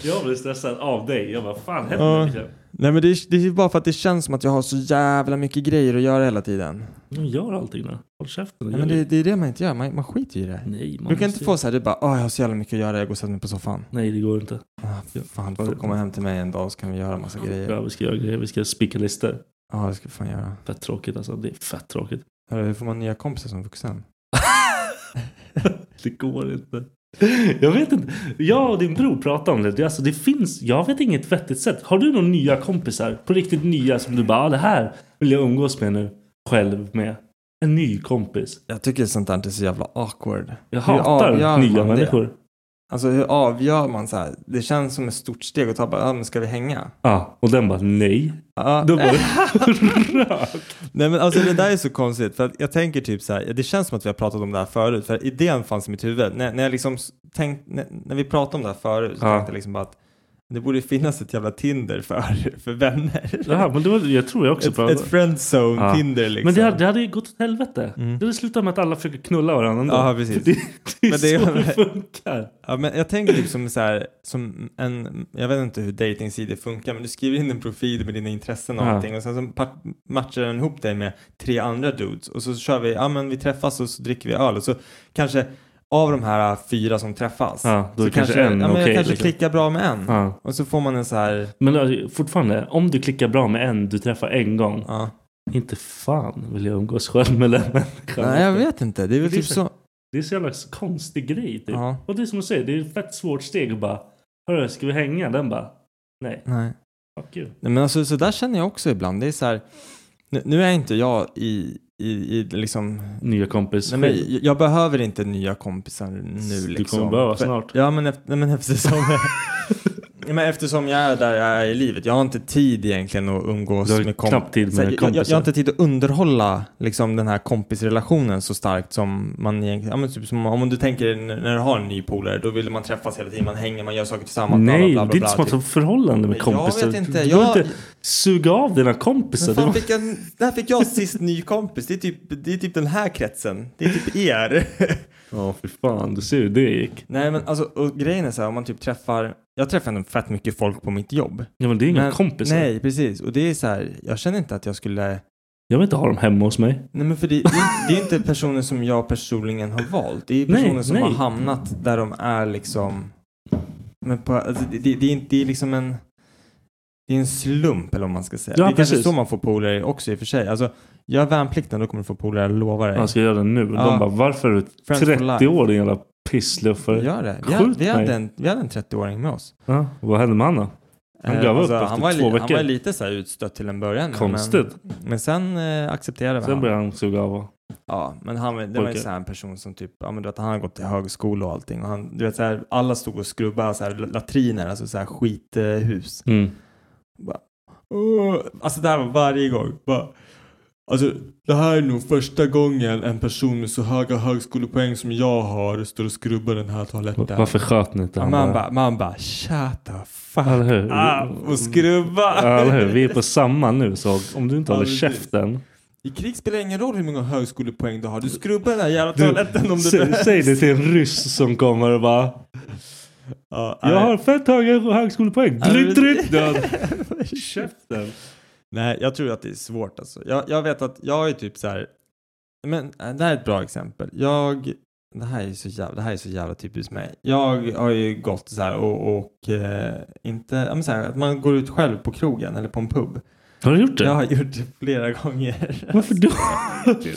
S2: jag blir stressad av dig. Jag bara fan
S5: Ja.
S2: händer liksom?
S5: Nej men det är, det är bara för att det känns som att jag har så jävla mycket grejer att göra hela tiden.
S2: De gör allting nu. Håll käften.
S5: Nej, men det, det är det man inte gör, man, man skiter ju i det.
S2: Nej, man
S5: Du
S2: måste
S5: kan inte få så här, du bara åh jag har så jävla mycket att göra, jag går och sätter mig på soffan.
S2: Nej det går inte.
S5: Ah, fan, du får komma hem till mig en dag så kan vi göra massa grejer.
S2: Ja, vi ska göra grejer. Vi ska spika listor.
S5: Ja, det ska vi fan göra.
S2: Fett tråkigt alltså. Det är fett tråkigt.
S5: Hörru, Hur får man nya kompisar som vuxen?
S2: det går inte. Jag vet inte. Jag och din bror pratade om det. det. Alltså, det finns, jag vet inget vettigt sätt. Har du några nya kompisar? På riktigt nya som du bara, ah, det här vill jag umgås med nu. Själv med. En ny kompis.
S5: Jag tycker sånt där är så jävla awkward.
S2: Jag
S5: Hur
S2: hatar
S5: avgör
S2: nya
S5: man det?
S2: människor.
S5: Alltså hur avgör man så här? Det känns som ett stort steg att ta bara, ja men ska vi hänga?
S2: Ja, och den bara nej.
S5: Ja.
S2: Då bara, rakt.
S5: Nej men alltså det där är så konstigt för att jag tänker typ så här, det känns som att vi har pratat om det här förut för idén fanns i mitt huvud. När, när jag liksom s- tänkt, när, när vi pratade om det här förut så
S2: Ja.
S5: tänkte jag liksom bara att det borde finnas ett jävla Tinder för, för vänner.
S2: Ja, men det var, jag tror jag också
S5: Ett,
S2: pratade-
S5: ett friendzone
S2: Ja.
S5: Tinder liksom.
S2: Men det hade, det hade ju gått åt helvete.
S5: Mm.
S2: Det hade slutat med att alla försöker knulla varandra. ändå.
S5: Ja, precis.
S2: Det, det är
S5: Men det är-
S2: så det funkar.
S5: Ja, men jag tänker typ som, så här, som en, jag vet inte hur dejtingsidor funkar, men du skriver in en profil med dina intressen och
S2: Ja.
S5: allting och sen så pa- matchar den ihop dig med tre andra dudes och så kör vi, ja men vi träffas och så dricker vi öl och så kanske av de här äh, fyra som träffas
S2: Ja, då är
S5: så
S2: kanske en
S5: ja, men jag
S2: okej,
S5: kanske
S2: liksom.
S5: klickar bra med en
S2: Ja.
S5: och så får man en så här,
S2: Men alltså, fortfarande, om du klickar bra med en du träffar en gång.
S5: ja.
S2: Inte fan vill jag umgås själv med den människan.
S5: Nej jag vet inte, det är väl
S2: Det är
S5: typ
S2: så-
S5: så.
S2: Det är så jävla konstig grej. Typ.
S5: Ja.
S2: Och det är som du säger, det är ett fett svårt steg att bara Hörru, ska vi hänga? Den bara Nej,
S5: Nej.
S2: fuck you.
S5: Nej men alltså så där känner jag också ibland, det är så här, nu, nu är inte jag i, i, i liksom
S2: Nya kompis.
S5: Nej, men
S2: skit.
S5: jag- jag behöver inte nya kompisar nu
S2: Du
S5: liksom.
S2: kommer behöva
S5: För-
S2: snart.
S5: Ja, men, efter, nej, men eftersom... Nej, men eftersom jag är där jag är i livet. Jag har inte tid egentligen att umgås
S2: Du har
S5: med
S2: knappt tid med
S5: Så här, jag- Jag, jag
S2: kompisar.
S5: har inte tid att underhålla liksom, den här kompisrelationen så starkt som man egentligen... Ja, men typ som, om du tänker n- när du har en ny polare, då vill man träffas hela tiden. Man hänger, man gör saker tillsammans. bla,
S2: Nej,
S5: bla, bla, bla,
S2: det är inte som att
S5: typ.
S2: ha förhållande med
S5: Men jag
S2: kompisar.
S5: vet inte,
S2: Du
S5: jag-
S2: behöver inte suga av dina kompisar.
S5: Men
S2: Det
S5: fan,
S2: var-
S5: fick jag, där fick jag sist ny kompis. Det är, typ, det är typ den här kretsen. Det är typ er.
S2: Ja, för fan. Du ser hur det gick.
S5: Nej men alltså, och grejen är så här, om man typ träffar, jag träffar ändå fett mycket folk på mitt jobb.
S2: Ja, men det är inga
S5: men,
S2: kompisar.
S5: Nej precis, och det är så här, jag känner inte att jag skulle,
S2: Jag vill inte ha dem hemma hos mig.
S5: nej men för det, det, det är inte personer som jag personligen har valt. Det är personer
S2: Nej,
S5: som
S2: nej.
S5: har hamnat där de är liksom, men på, alltså, det, det, det, är inte, det är liksom en, det är en slump eller vad man ska säga.
S2: Ja,
S5: det är kanske
S2: precis.
S5: så man får polare också i och för sig. Alltså, gör värnplikten då kommer du få polare, jag lovar dig.
S2: Han ska göra det nu.
S5: Ja.
S2: De bara, varför är du
S5: Friends for life.
S2: 30 Alltså, år din jävla Pissluffare.
S5: Gör det. Vi,
S2: Skjut
S5: hade, vi, hade
S2: mig.
S5: en, vi hade en 30-åring med oss.
S2: Ja, vad hände med han då? Han
S5: Eh,
S2: gav upp
S5: han, var
S2: efter
S5: li-
S2: två
S5: han var
S2: veckor.
S5: lite så här utstött till en början. men-
S2: Konstigt.
S5: Men, men sen eh, accepterade vi
S2: Sen
S5: han.
S2: började han suga av och-
S5: Ja, men han var- det var ju
S2: Okej.
S5: så här en person som typ, ja men du vet han har gått till högskola och allting och han, du vet så här, alla stod och skrubbade så här latriner, alltså så här skithus.
S2: Mm.
S5: Bara, "Åh." alltså det här var varje gång. Bara, alltså det här är nog första gången en person med så höga högskolepoäng som jag har står och skrubbar den här toaletten.
S2: Varför sköt ni inte
S5: Ja,
S2: han
S5: man
S2: bara?
S5: bara, "Ah, man bara, shut the fuck
S2: Eller hur?
S5: up och skrubba.
S2: Alltså, Ja, eller hur? Vi är på samma nu så om du inte
S5: Ja,
S2: håller
S5: precis.
S2: käften.
S5: I krig spelar det ingen roll hur många högskolepoäng du har. Du skrubbar den här jävla
S2: Du,
S5: toaletten om du
S2: sä,
S5: behövs.
S2: säg det till en ryss som kommer och bara
S5: Ja,
S2: Jag
S5: nej.
S2: har fett höga högskolepoäng.
S5: Nej,
S2: Drytt,
S5: men-
S2: drytt. Död. Käften.
S5: Nej, jag tror att det är svårt alltså. Jag, jag vet att jag är typ så här. Men äh, det här är ett bra exempel. Jag, det här är så jävla, det här är så jävla typiskt mig. Jag har ju gått så här och, och eh, inte, ja men så här, att man går ut själv på krogen eller på en pub.
S2: Har du gjort det?
S5: Jag har gjort det flera gånger.
S2: Varför då?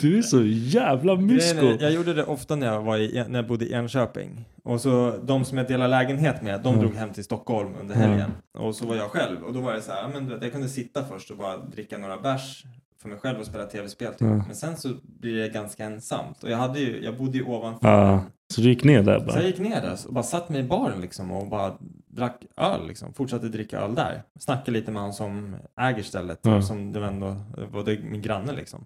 S2: Du är så jävla mysko.
S5: Grejen är, Jag gjorde det ofta när jag, var i, när jag bodde i Enköping. Och så de som jag delade lägenhet med, de
S2: Mm.
S5: drog hem till Stockholm under
S2: Mm.
S5: helgen. Och så var jag själv. Och då var det så här, ja, men du vet, jag kunde sitta först och bara dricka några bärs för mig själv och spela tv-spel. Typ.
S2: Mm.
S5: Men sen så blir det ganska ensamt. Och jag, hade ju, jag bodde ju ovanför.
S2: Ja, så du gick ner där
S5: Så jag
S2: bara?
S5: gick ner där och bara satt mig i baren liksom och bara drack öl liksom. Fortsatte dricka öl där. Snackade lite med han som äger stället.
S2: Ja.
S5: Som det var ändå var det min granne liksom.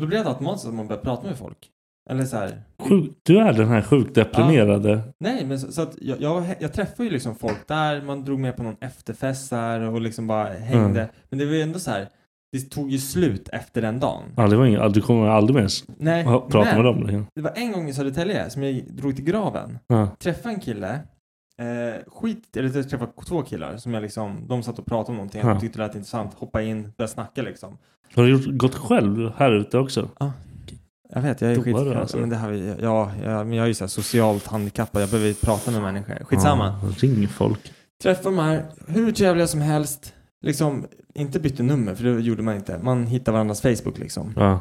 S5: Då blev det automatiskt att man började prata med folk. Eller så här.
S2: Sjuk, du är den här sjukt deprimerade.
S5: Nej men så, så att jag, jag, jag träffade ju liksom folk där. Man drog med på någon efterfest där och liksom bara hängde.
S2: Mm.
S5: Men det var ju ändå så här. Det tog ju slut efter den dagen.
S2: Ja, det var inget, du kommer aldrig mer s-
S5: Nej,
S2: ha- prata med
S5: men
S2: dem. längre.
S5: det var en gång i Södertälje som jag drog till graven.
S2: Ja.
S5: träffade en kille, eh, skit, eller jag träffade två killar som jag liksom, de satt och pratade om någonting,
S2: Ja.
S5: jag tyckte det lät intressant, hoppa in, började snacka liksom.
S2: Har du gjort, gått själv här ute också?
S5: Jag vet, jag är
S2: Då var det
S5: skitfrän.
S2: alltså.
S5: Men det här, är- ja, jag, men jag är ju så här socialt handikappad, jag behöver ju prata med människor. Skitsamma.
S2: Ja, ring folk.
S5: Träffade de här, hur trevliga som helst, liksom, inte bytte nummer, för det gjorde man inte. Man hittade varandras Facebook liksom.
S2: Ja.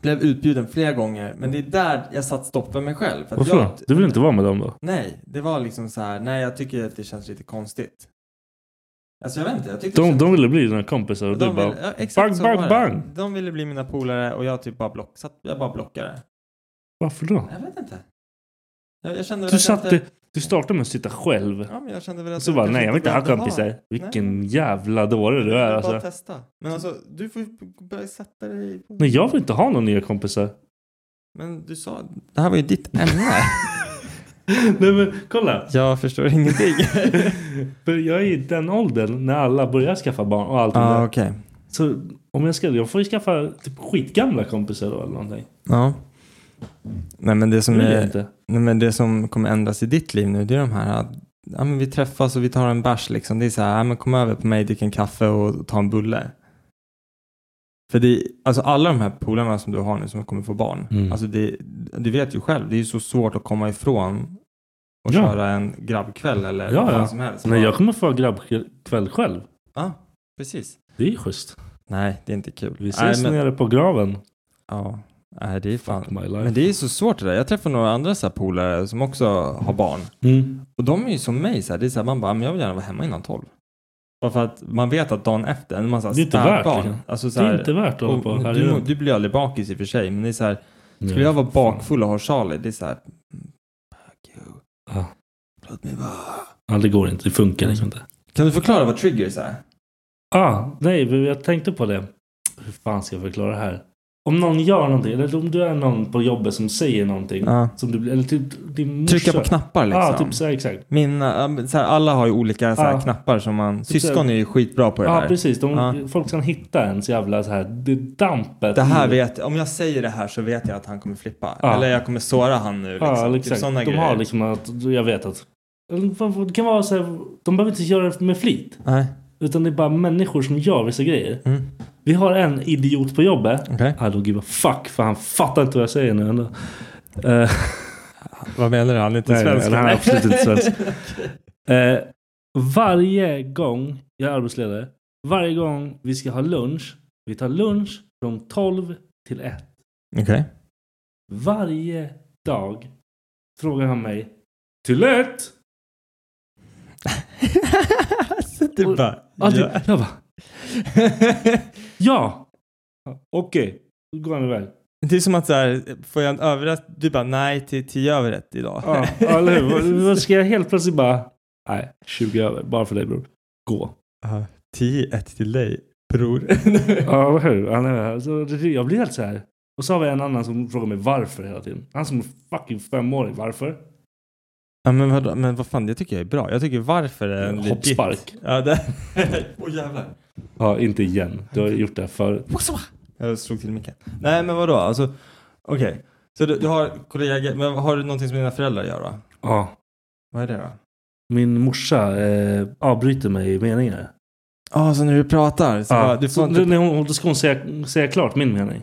S5: Blev utbjuden flera gånger, men det är där jag satt stopp för mig själv. För att
S2: Varför
S5: jag-
S2: då? Du vill inte vara med dem då?
S5: Nej, det var liksom så här, nej jag tycker att det känns lite konstigt. Alltså jag vet inte, jag tyckte det
S2: De,
S5: kändes-
S2: de ville bli dina kompisar och du bara...
S5: ville- ja, exakt
S2: bang,
S5: så
S2: bang,
S5: var det.
S2: bang!
S5: De ville bli mina polare och jag typ bara block, satt, jag bara blockade.
S2: Varför då?
S5: Jag vet inte. Jag, jag kände väl
S2: Du
S5: att jag
S2: satte...
S5: inte-
S2: Du startade med att sitta själv.
S5: Ja men jag kände väl
S2: Och
S5: att
S2: så bara,
S5: kanske
S2: nej jag vill inte ha
S5: behövde
S2: kompisar.
S5: Nej.
S2: Vilken jävla dåre du är
S5: Jag vill Bara
S2: alltså.
S5: testa. Men alltså du får ju börja sätta dig på...
S2: Nej jag vill inte ha några nya kompisar.
S5: Men du sa, det här var ju ditt ämne.
S2: Nej men kolla.
S5: jag förstår ingenting.
S2: För jag är i den åldern när alla börjar skaffa barn och allt det
S5: Ja
S2: där.
S5: okej.
S2: Så om jag ska, jag får ju skaffa typ skitgamla kompisar då eller någonting.
S5: Ja. Nej men det
S2: Det
S5: som
S2: vill jag
S5: är...
S2: inte.
S5: Nej, men det som kommer ändras i ditt liv nu det är de här att ja, men vi träffas och vi tar en bärs liksom. Det är så här, ja, men kom över på mig, drick en kaffe och ta en bulle. För det, alltså alla de här polarna som du har nu som kommer få barn,
S2: Mm.
S5: alltså det, du vet ju själv, det är ju så svårt att komma ifrån och
S2: Ja.
S5: köra en grabbkväll eller
S2: Ja,
S5: vad fan
S2: ja.
S5: som helst.
S2: Nej jag kommer få ha grabbkväll själv.
S5: Ja, precis.
S2: Det är ju schysst.
S5: Nej, det är inte kul.
S2: Vi ses
S5: Nej, men,
S2: nere på graven.
S5: ja, nej, det är
S2: Fuck
S5: fan.
S2: my life.
S5: Men det är så svårt det där. Jag träffar några andra så här polare som också har barn.
S2: Mm.
S5: Och de är ju som mig, så här, det är så här, man bara, men jag vill gärna vara hemma innan tolv. Bara för att man vet att dagen efter, när man så här,
S2: Det är inte värt
S5: spädbarn,
S2: det.
S5: alltså, så
S2: Det
S5: här,
S2: är inte värt att hålla på
S5: och,
S2: här
S5: du, må-
S2: inne.
S5: du blir aldrig bakis i och för sig, men det är så här, skulle
S2: Nej,
S5: jag vara
S2: för fan.
S5: bakfull och ha Charlie, det är så här, mm, fuck you.
S2: Ja.
S5: Låt mig vara.
S2: Ja det går inte, det funkar liksom inte.
S5: Kan du förklara vad triggers är?
S2: Mm, Ah, nej, men jag tänkte på det. Hur fan ska jag förklara det här? Om någon gör någonting, eller om du är någon på jobbet som säger någonting.
S5: Ja.
S2: Som du, eller typ din morsa.
S5: Trycka på knappar liksom.
S2: Ja, ah, typ så här, exakt.
S5: Mina, ja, men så här, alla har ju olika så här,
S2: Ja.
S5: knappar som man,
S2: Typ så här-
S5: syskon är ju skitbra på det
S2: Ja,
S5: där.
S2: precis. De,
S5: Ja.
S2: Folk kan hitta ens jävla så här, det dampet.
S5: Det här
S2: i-
S5: vet, om jag säger det här så vet jag att han kommer flippa.
S2: Ja.
S5: Eller jag kommer såra han nu. Liksom.
S2: Ja,
S5: Typ
S2: exakt.
S5: såna
S2: de
S5: grejer.
S2: har liksom att, jag vet att. eller vad- vad- Det kan vara så här, de behöver inte göra det med flit.
S5: Nej,
S2: Utan det är bara människor som gör vissa grejer.
S5: Mm.
S2: Vi har en idiot på jobbet.
S5: okej.
S2: I don't give a fuck, för han fattar inte vad jag säger nu ändå. Eh,
S5: Vad menar du? Han är inte
S2: Nej,
S5: svensk?
S2: nej, han är absolut inte svensk. Eh, varje gång jag är arbetsledare, varje gång vi ska ha lunch, vi tar lunch från 12 till 1.
S5: Okej.
S2: Varje dag Frågar han mig. Tylett!
S5: Du bara,
S2: Ja, det,
S5: ja.
S2: jag bara... ja! Okej. Då går han iväg.
S5: det är som att så här, får jag en överrätt? Du bara, nej till 10 överrätt idag.
S2: Ja, ja, eller hur? Vad- Vad ska jag helt plötsligt bara... Nej, 20 över. Bara för dig bror. Gå.
S5: Ja, 10 ett till dig, bror.
S2: Ja, eller hur? Han är, så det- jag blir helt så här. Och så har vi en annan som frågar mig varför hela tiden. Han som är fucking femårig. Varför?
S5: Ja, men, vadå? men vad fan, det tycker jag är bra. Jag tycker varför är en Eh, legit...
S2: Hoppspark.
S5: Ja, det... Åh jävlar.
S2: Ja, inte igen. Du har gjort det här förut.
S5: Jag slog till micken. Nej, men vadå? Alltså, okej. Så du, du har kollegor, men har du någonting som dina föräldrar gör då?
S2: Ja.
S5: Vad är det då?
S2: Min morsa eh, avbryter mig i meningar.
S5: Ja, så när du pratar så bara, du får
S2: så
S5: inte...
S2: när hon, då ska hon säga, säga klart min mening.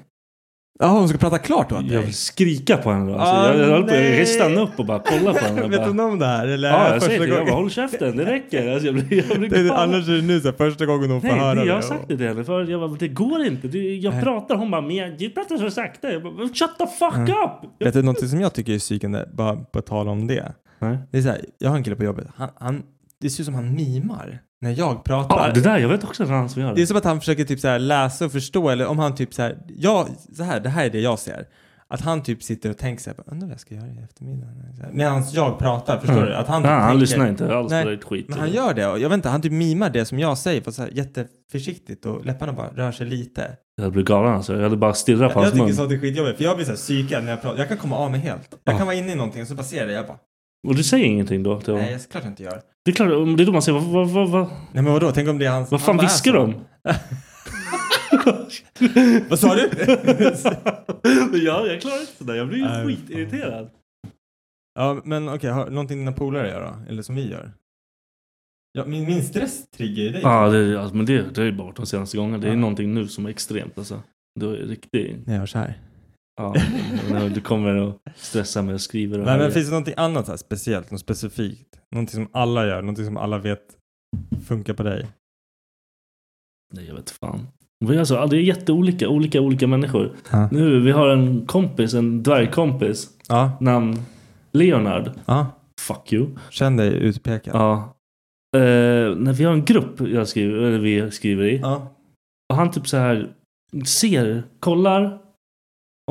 S5: Ja, hon ska prata klart då?
S2: Jag vill skrika på henne. då. Alltså,
S5: Ah,
S2: jag, jag, höll på, jag
S5: nej.
S2: kan stanna upp och bara kolla på henne.
S5: Vet
S2: Bara,
S5: hon om det här? Eller är
S2: ja,
S5: det
S2: jag säger det. Jag bara, håll käften, det räcker. Alltså, jag blir, jag blir
S5: Det är,
S2: galen.
S5: annars är det nu så här, första gången hon får höra
S2: Nej, det, jag har
S5: det.
S2: sagt det till henne förut. Jag bara, det går inte. Du, jag pratar. Hon bara, men jag, du pratar så sakta. Jag bara, shut the fuck
S5: Mm.
S2: up! Jag,
S5: Vet du någonting som jag tycker är psykande, bara på tal om det?
S2: Nej.
S5: Det är så här, jag har en kille på jobbet, han, han, det ser ut som han mimar när jag pratar.
S2: ja, det där, jag vet också att det är han som gör
S5: Det är
S2: det.
S5: som att han försöker typ så här läsa och förstå eller om han typ så här, ja, så här, det här är det jag ser. Att han typ sitter och tänker så här, undrar vad jag ska göra i eftermiddag. Så här, Medan jag pratar, förstår
S2: Mm.
S5: du? Att han,
S2: Nej,
S5: typ
S2: han
S5: tänker-
S2: lyssnar inte alls
S5: Nej,
S2: på ditt skit.
S5: Men han gör det och jag vet inte, han typ mimar det som jag säger fast så här jätteförsiktigt och läpparna bara rör sig lite.
S2: Jag blir galen alltså. Jag hade bara stirrat på
S5: Jag, jag
S2: hans
S5: tycker
S2: mun.
S5: sånt är skitjobbigt för jag blir så här psykad när jag pratar. Jag kan komma av mig helt. Jag
S2: Ja.
S5: kan vara inne i någonting och så bara ser jag det jag bara,
S2: Och du säger ingenting då? Till honom?
S5: nej jag klart jag inte gör.
S2: Det är klart, om det är då man säger, vad, vad, vad, vad,
S5: Nej men vadå, tänk om det är hans...
S2: vad
S5: han
S2: fan
S5: bara är
S2: viskar
S5: så.
S2: de?
S5: Vad sa du?
S2: Men jag, jag klarar inte sådär. Jag blir
S5: Nej,
S2: ju skitirriterad.
S5: Ja, men okej, har någonting dina polare gör då? Eller som vi gör? Ja, min, min stress triggar ju dig.
S2: Ja, det, alltså, men det, det är ju bara de senaste gångerna. Det är
S5: Ja.
S2: någonting nu som är extremt alltså. Du är riktigt...
S5: När jag gör så här.
S2: Ja, när du kommer och stressar mig och skriver och
S5: Nej, men
S2: härjar.
S5: finns det någonting annat så här speciellt? Något specifikt? Någonting som alla gör? Någonting som alla vet funkar på dig?
S2: Nej, jag vet fan. Vi är alltså, ja, det är jätteolika, olika, olika människor.
S5: Ja.
S2: Nu, vi har en kompis, en dvärgkompis.
S5: Ja,
S2: Namn Leonard.
S5: ja.
S2: Fuck you.
S5: Känn dig utpekad.
S2: Ja. Eh, när vi har en grupp jag skriver, eller vi skriver i.
S5: Ja.
S2: Och han typ så här ser, kollar.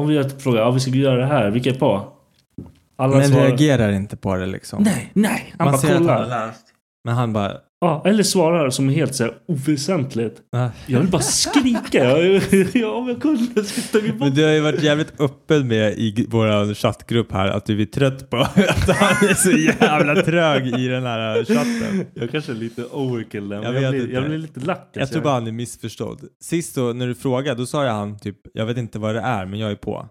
S2: Om vi gör typ frågar, ja vi ska göra det här, vilka är på? Alla
S5: Men
S2: svarar,
S5: reagerar inte på det liksom.
S2: Nej, nej. Han
S5: Man
S2: bara
S5: ser att han
S2: kollar.
S5: har läst. Men han bara...
S2: ja, eller svarar som är helt så här oväsentligt.
S5: "Ah."
S2: Jag vill bara skrika. Jag, ja, om jag kunde sitta vid
S5: Men
S2: bordet.
S5: du har ju varit jävligt öppen med i vår chattgrupp här att du är trött på att han är så jävla trög i den här chatten.
S2: Jag kanske är lite overkill där.
S5: Jag
S2: men Jag,
S5: vet
S2: blir, jag
S5: inte.
S2: blir lite lack. alltså.
S5: Jag tror bara han är missförstådd. Sist då, när du frågade, då sa jag han typ, jag vet inte vad det är, men jag är på.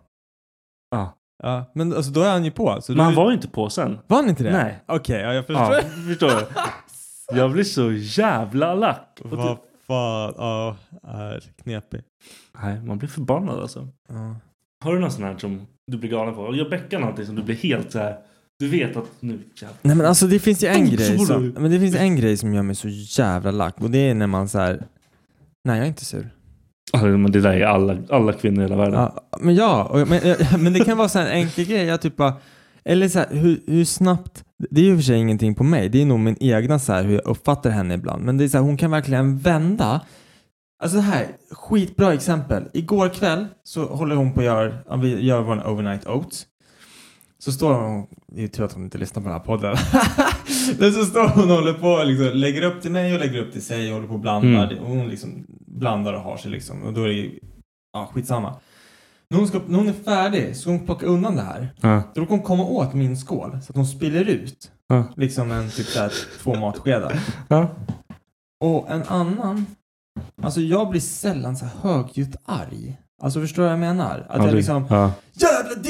S2: Ja.
S5: Ja, men alltså då är han ju på. Så
S2: Men han
S5: du,
S2: var ju inte på sen.
S5: var han inte det?
S2: Nej.
S5: Okej, ja, jag förstår.
S2: Ja, förstår du? Jag blir så jävla lack. Och
S5: Vad
S2: typ,
S5: fan, ja, är knepig.
S2: nej, man blir förbannad alltså.
S5: Ja.
S2: Har du någon sån här som du blir galen på? Jag bäckar någonting som du blir helt så här. Du vet att nu jävlar.
S5: Nej men alltså det finns ju en
S2: Tänk
S5: grej
S2: så
S5: som,
S2: du.
S5: men det finns en grej som gör mig så jävla lack och det är när man så här. nej jag är inte sur.
S2: Ja, men det där är alla, alla kvinnor i hela världen.
S5: Ja, men ja, och, men, ja, men det kan vara så här en enkel grej. Jag typ bara, eller så här, hur, hur snabbt, det är ju i och för sig ingenting på mig. Det är nog min egna så här hur jag uppfattar henne ibland. Men det är så här, hon kan verkligen vända. Alltså det här, skitbra exempel. Igår kväll så håller hon på att göra, ja, vi gör vår overnight oats. Så står hon, det är tur att hon inte lyssnar på den här podden. Men så står hon och håller på och liksom, lägger upp till mig och lägger upp till sig och håller på och blandar.
S2: Mm.
S5: Och hon liksom blandar och har sig liksom. Och då är det ju, ja skitsamma. När hon, ska, när hon är färdig så ska hon plocka undan det här.
S2: Ja.
S5: Då kan hon komma åt min skål så att hon spiller ut
S2: Ja.
S5: liksom en typ såhär två matskedar.
S2: Ja.
S5: Och en annan, alltså jag blir sällan så här högljutt arg. Alltså förstår du vad jag menar? Att jag liksom,
S2: ja.
S5: jävla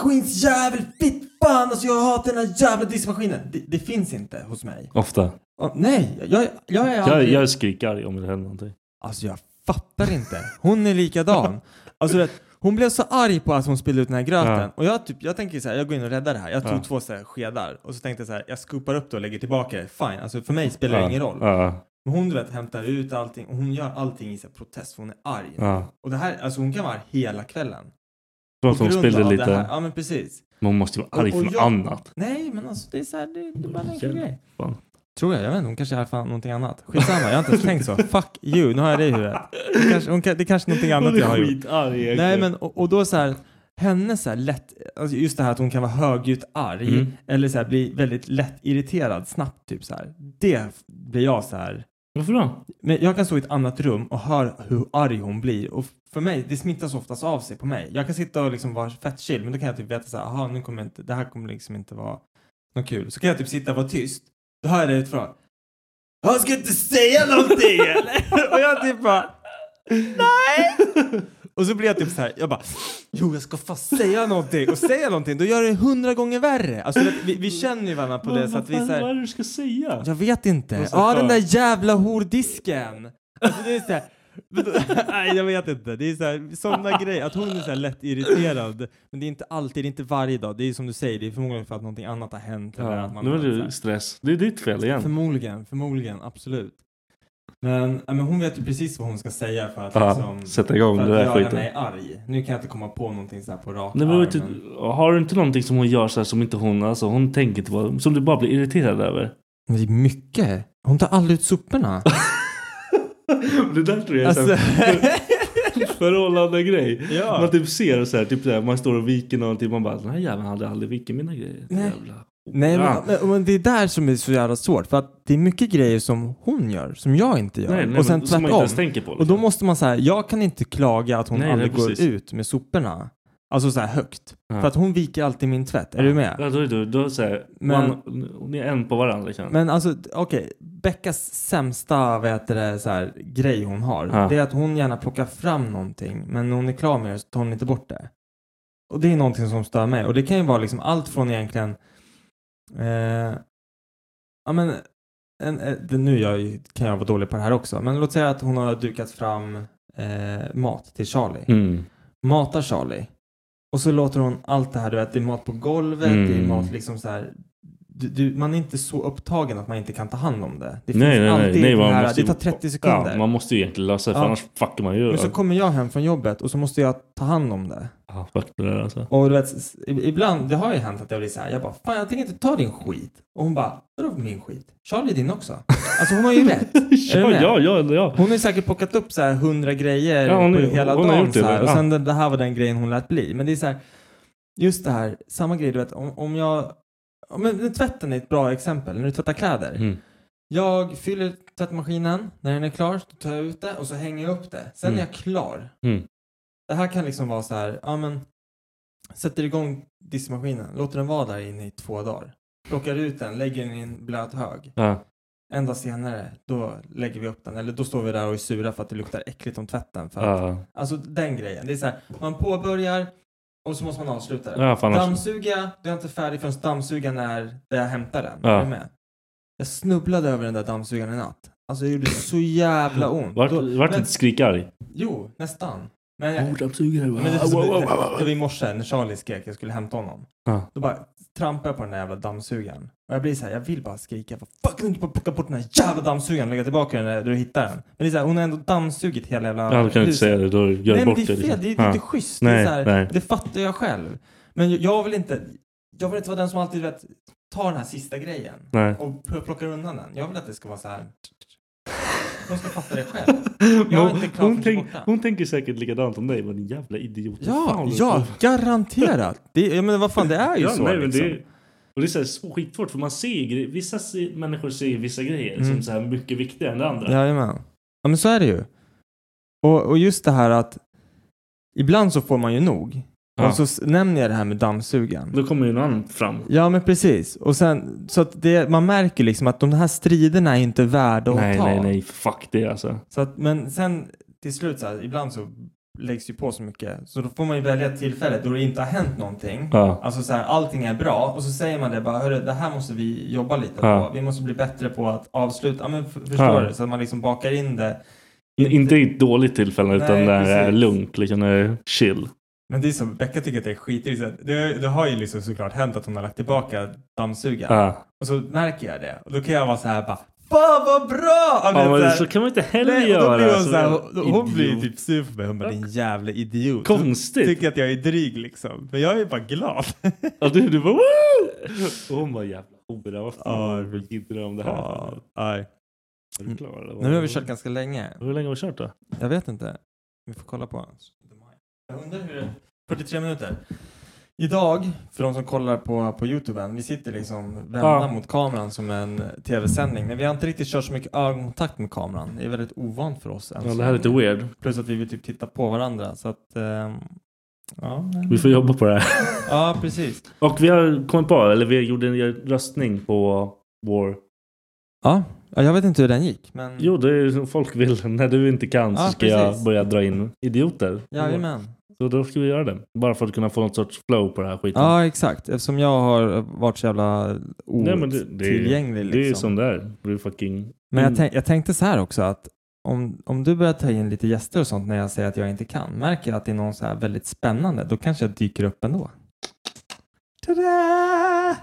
S5: diskmaskinsjävel, fitt fan, alltså jag hatar den här jävla diskmaskinen. Det, det finns inte hos mig.
S2: Ofta.
S5: Och, nej, jag, jag är
S2: Jag,
S5: aldrig...
S2: jag skriker arg om det händer någonting.
S5: Alltså jag fattar inte. Hon är likadan. Alltså du vet, hon blev så arg på att hon spillde ut den här gröten.
S2: Ja.
S5: Och jag, typ, jag tänker så här, jag går in och räddar det här. Jag tog
S2: Ja.
S5: två så här skedar och så tänkte jag så här, jag scoopar upp det och lägger tillbaka det. Fine, alltså för mig spelar det
S2: Ja.
S5: ingen roll.
S2: Ja.
S5: Men hon du vet hämtar ut allting och hon gör allting i så här protest för hon är arg.
S2: Ja.
S5: Och det här, alltså hon kan vara arg hela kvällen.
S2: För att
S5: På
S2: hon
S5: grund
S2: spillde
S5: av det här-
S2: lite.
S5: Ja men precis.
S2: Man måste ju vara arg
S5: Och- och
S2: för något
S5: jag-
S2: annat.
S5: Nej, men alltså det är så här, det, det är bara en enkel
S2: Jävlar.
S5: grej. Tror jag, jag vet inte, hon kanske är fan någonting annat. Skitsamma, jag har inte ens tänkt så. Fuck you, nu har jag det i huvudet. Det kanske, hon, kan- det kanske är någonting annat
S2: Hon är
S5: jag har gjort.
S2: skitarg egentligen.
S5: Nej men, och, och då så här, hennes så här lätt, alltså just det här att hon kan vara högljutt arg
S2: Mm.
S5: eller så här bli väldigt lätt irriterad snabbt typ så här. Det blir jag så här.
S2: Varför då?
S5: Men jag kan stå i ett annat rum och höra hur arg hon blir och för mig, det smittas oftast av sig på mig. Jag kan sitta och liksom vara fett chill men då kan jag typ veta så här, aha nu kommer jag inte, det här kommer liksom inte vara något kul. Så kan jag typ sitta och vara tyst. Då hör jag det utifrån. Jag ska inte säga någonting eller? Och jag typ bara, nej! Och så blir jag typ så här, jag bara, jo jag ska fast säga någonting och säga någonting då gör det hundra gånger värre. Alltså vet, vi, vi känner ju varandra på det så att vi
S2: fan,
S5: så här,
S2: Vad är det du ska säga?
S5: jag vet inte.
S2: Och så
S5: Ja,
S2: för-
S5: den där jävla hordisken. Alltså, det är så här, men då- nej, jag vet inte. Det är så här, sådana grejer. Att hon är så här lätt irriterad. Men det är inte alltid, det är inte varje dag. Det är som du säger, det är förmodligen för att någonting annat har hänt. Eller att
S2: Ja,
S5: man
S2: nu
S5: har
S2: är
S5: varit så här.
S2: det stress. Det är ditt fel igen.
S5: Förmodligen, förmodligen, absolut. Men, ja, men hon vet ju precis vad hon ska säga för att
S2: Ja,
S5: liksom,
S2: sätta igång
S5: för
S2: det
S5: att
S2: där
S5: göra
S2: skiten.
S5: mig arg. Nu kan jag inte komma på någonting så här på rak
S2: Nej, men,
S5: arm,
S2: vet du,
S5: men-
S2: har du inte någonting som hon gör så här som inte hon, alltså hon tänker inte på, som du bara blir irriterad över?
S5: Men Det är mycket. Hon tar aldrig ut soporna.
S2: Det där tror jag är så
S5: Alltså,
S2: här- förhållande grej.
S5: Ja.
S2: Man typ ser och så här, typ så här, man står och viker någonting. Man bara, den här jäveln hade aldrig viker mina grejer.
S5: Nej.
S2: Jävla.
S5: Nej,
S2: Ja.
S5: men, men, men det är där som är så jävla svårt. För att det är mycket grejer som hon gör, som jag inte gör.
S2: Nej, nej,
S5: och sen
S2: men, som man inte
S5: tvärtom.
S2: ens tänker på. liksom.
S5: Och då måste man säga, jag kan inte klaga att hon
S2: Nej, nej,
S5: aldrig går
S2: precis.
S5: ut med soporna. Alltså så här högt.
S2: Ja.
S5: För att hon viker alltid min tvätt. Är du med?
S2: Ja, då, då, då så här,
S5: Men-
S2: man, ni är en på varandra kan
S5: Men alltså, d- okej. Beckas sämsta, vad heter det, så här, grej hon har.
S2: Ja.
S5: Det är att hon gärna plockar fram någonting. Men när hon är klar med det så tar hon inte bort det. Och det är någonting som stör mig. Och det kan ju vara liksom allt från egentligen... Eh, ja men... En, eh, det, nu är jag, ju- kan jag vara dålig på det här också. Men låt säga att hon har dukat fram eh, mat till Charlie.
S2: Mm.
S5: Matar Charlie. Och så låter hon allt det här, du vet, det är mat på golvet,
S2: Mm.
S5: det är mat liksom så här. Du, du, man är inte så upptagen att man inte kan ta hand om det. Det finns
S2: Nej, nej, nej.
S5: alltid
S2: Nej,
S5: den
S2: man
S5: här,
S2: måste
S5: det
S2: ju-
S5: tar 30 sekunder.
S2: Ja, man måste ju egentligen lösa det, för
S5: Ja.
S2: annars fuckar man ju.
S5: Men så kommer jag hem från jobbet och så måste jag ta hand om det.
S2: ja, fuck det där alltså.
S5: Och du vet, s- i- ibland, det har ju hänt att jag blir så här, jag bara, fan jag tänker inte ta din skit. Och hon bara, vadå min skit? Charlie är din också. Alltså hon har ju rätt. Är du
S2: Ja,
S5: med?
S2: ja, ja, ja.
S5: Hon har ju säkert plockat upp så här hundra grejer
S2: Ja, hon-
S5: på hela
S2: hon har
S5: dagen
S2: gjort det,
S5: så här. Och
S2: ja.
S5: sen det, det här var den grejen hon lät bli. Men det är så här, just det här, samma grej du vet, om, om jag, ja, men nu tvätten är ett bra exempel, när du tvättar kläder.
S2: Mm.
S5: Jag fyller tvättmaskinen, när den är klar så tar jag ut det och så hänger jag upp det. Sen
S2: Mm.
S5: är jag klar.
S2: Mm.
S5: Det här kan liksom vara så här, ja men, sätter igång diskmaskinen, låter den vara där inne i två dagar. Plockar ut den, lägger den i en blöt hög.
S2: Ja.
S5: En dag senare, då lägger vi upp den. Eller då står vi där och är sura för att det luktar äckligt om tvätten. För att,
S2: Ja.
S5: Alltså den grejen. Det är så här, man påbörjar och så måste man avsluta det.
S2: Ja, alltså. för annars-
S5: Dammsuga, du är inte färdig förrän dammsugaren är där jag hämtar den.
S2: Ja.
S5: Är du med? Jag snubblade över den där dammsugaren i natt. Alltså det gjorde så jävla ont.
S2: Vart,
S5: Då-
S2: vart
S5: men,
S2: inte skrikarg?
S5: Jo, nästan. Men jag,
S2: Dammsugare.
S5: men det, det, det, det var i morse när Charlie skrek jag skulle hämta honom.
S2: Ja.
S5: Då bara trampar jag på den där jävla dammsugaren. Och jag blir så här, jag vill bara skrika. Vad fucking inte bara plocka bort den här jävla dammsugaren och lägga tillbaka den där du hittar den. Men det är så här, hon har ändå dammsugit hela jävla
S2: Ja, du kan inte
S5: huset.
S2: säga det. Då gör du
S5: Nej men
S2: bort
S5: det är fel, det, är-
S2: liksom.
S5: det är
S2: Ja.
S5: inte schysst. det, är
S2: Nej,
S5: så här,
S2: nej.
S5: det fattar jag själv. Men jag- jag vill inte, jag vill inte vara den som alltid vet, tar den här sista grejen.
S2: Nej.
S5: Och pl- plockar undan den. Jag vill att det ska vara så här. De ska fatta det själv. Jag är
S2: Hon,
S5: inte klar
S2: hon,
S5: för
S2: tänk,
S5: borta.
S2: hon tänker säkert likadant om dig. Vad din jävla idiot.
S5: Ja,
S2: Fan, du-
S5: ja, garanterat. Det, ja, men vad fan, det är ju så.
S2: nej, men
S5: liksom.
S2: det, och det är så här så skitsvårt för man ser ju gre- vissa se, människor ser vissa grejer som så här mycket viktigare än det andra.
S5: Jajamän. Ja, men så är det ju. Och, och just det här att ibland så får man ju nog.
S2: Ja.
S5: Och så s- nämner jag det här med dammsugaren.
S2: Då kommer ju någon annan fram.
S5: Ja, men precis. Och sen, så att det, man märker liksom att de här striderna är inte värda att
S2: Nej,
S5: ta.
S2: nej, nej, fuck det alltså.
S5: Så att, men sen till slut så här, ibland så läggs ju på så mycket. Så då får man ju välja ett tillfälle då det inte har hänt någonting.
S2: Ja.
S5: Alltså så här, allting är bra och så säger man det bara, hörru, det här måste vi jobba lite
S2: Ja.
S5: på. Vi måste bli bättre på att avsluta. Ja, men f- förstår
S2: Ja.
S5: du? Så att man liksom bakar in det
S2: Inte, i ett dåligt tillfälle utan
S5: Nej,
S2: när det är
S5: precis.
S2: lugnt, liksom när det är chill.
S5: Men det är som Becka tycker att det är skitigt. Det, det har ju liksom såklart hänt att hon har lagt tillbaka dammsugaren.
S2: Ja.
S5: Och så märker jag det. Och då kan jag vara så här bara
S6: Fan vad bra!
S2: Ja, men så kan man inte heller
S6: nej, och Då blir
S2: göra,
S6: hon,
S2: som
S6: så här,
S2: en
S6: hon, hon blir ju
S2: idiot.
S6: typ sur på mig. Hon bara din jävla idiot.
S2: Konstigt.
S6: Hon tycker att jag är dryg liksom. Men jag är bara glad.
S2: Ja, du, du bara woo! Och hon bara jävla hora, vad
S6: Ja,
S2: fan tycker du om det här?
S6: Ja, nej.
S2: Är du klar, eller vad? Alltså-
S5: Nu har vi kört ganska länge.
S2: Hur länge har vi kört då?
S5: Jag vet inte. Vi får kolla på. Jag undrar hur... 43 minuter. Idag, för de som kollar på, på Youtube, vi sitter liksom vända
S2: Ja.
S5: mot kameran som en tv-sändning. Men vi har inte riktigt kört så mycket ögonkontakt med kameran. Det är väldigt ovant för oss. alltså. än
S2: Ja,
S5: så
S2: det här är lite
S5: länge.
S2: weird.
S5: Plus att vi vill typ titta på varandra. Så att, ehm, ja.
S2: Vi får jobba på det här.
S5: Ja, precis.
S2: Och vi har kommit på, eller vi gjorde en röstning på
S5: Mm.
S2: vår...
S5: Ja, ja, jag vet inte hur den gick. Men...
S2: Jo, det är som folk vill. När du inte kan så
S5: Ja,
S2: ska
S5: precis.
S2: jag börja dra in idioter.
S5: Jajamän.
S2: Så då ska vi göra det. Bara för att kunna få någon sorts flow på den här skiten.
S5: Ja, exakt. Eftersom jag har varit så jävla
S2: Nej, men det, det, är,
S5: otillgänglig.
S2: det är ju
S5: liksom.
S2: som det Mm. är. Du är fucking...
S5: Men jag, tänk, jag tänkte så här också att om, om du börjar ta in lite gäster och sånt när jag säger att jag inte kan, märker jag att det är någon så här väldigt spännande, då kanske jag dyker upp ändå. Tada!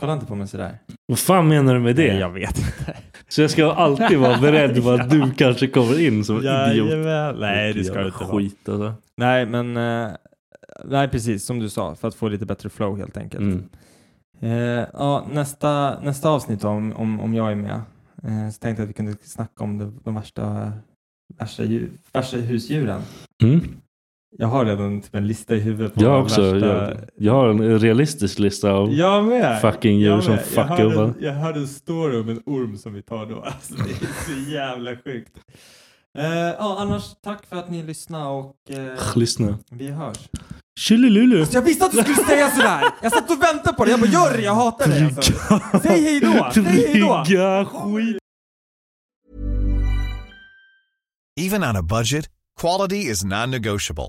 S5: Kolla inte på mig sådär.
S2: Vad fan menar du med det?
S5: Nej, jag vet inte.
S2: Så jag ska alltid vara beredd på att du kanske kommer in som idiot.
S6: Jajamän. Nej, det ska
S2: Jävla
S6: du inte vara.
S2: skit alltså.
S5: Nej, men eh, nej, precis som du sa, för att få lite bättre flow helt enkelt.
S2: Mm.
S5: Eh, ja, nästa, nästa avsnitt om, om, om jag är med, eh, så tänkte jag att vi kunde snacka om det, de värsta, värsta, djur, värsta husdjuren.
S2: Mm.
S5: Jag har redan typ en lista i huvudet. på
S2: Jag
S5: de
S2: också.
S5: värsta-
S2: Jag, jag har en realistisk lista av...
S6: Jag med.
S2: Fucking djur
S6: Jag
S2: som
S6: med. Jag
S2: fuckar
S6: hörde-
S2: upp.
S6: Jag hörde en story om en orm som vi tar då. Alltså, det är så jävla sjukt.
S5: Eh, ja, annars tack för att ni lyssnade och eh,
S2: Lyssna.
S5: vi hörs.
S2: Tjolilulu.
S5: Jag visste att du skulle säga sådär! Jag satt och väntade på dig. Jag bara, gör det, jag hatar dig alltså. Säg hej då! Säg hej då!
S2: Trygga skit.
S1: Even on a budget, quality is non-negotiable.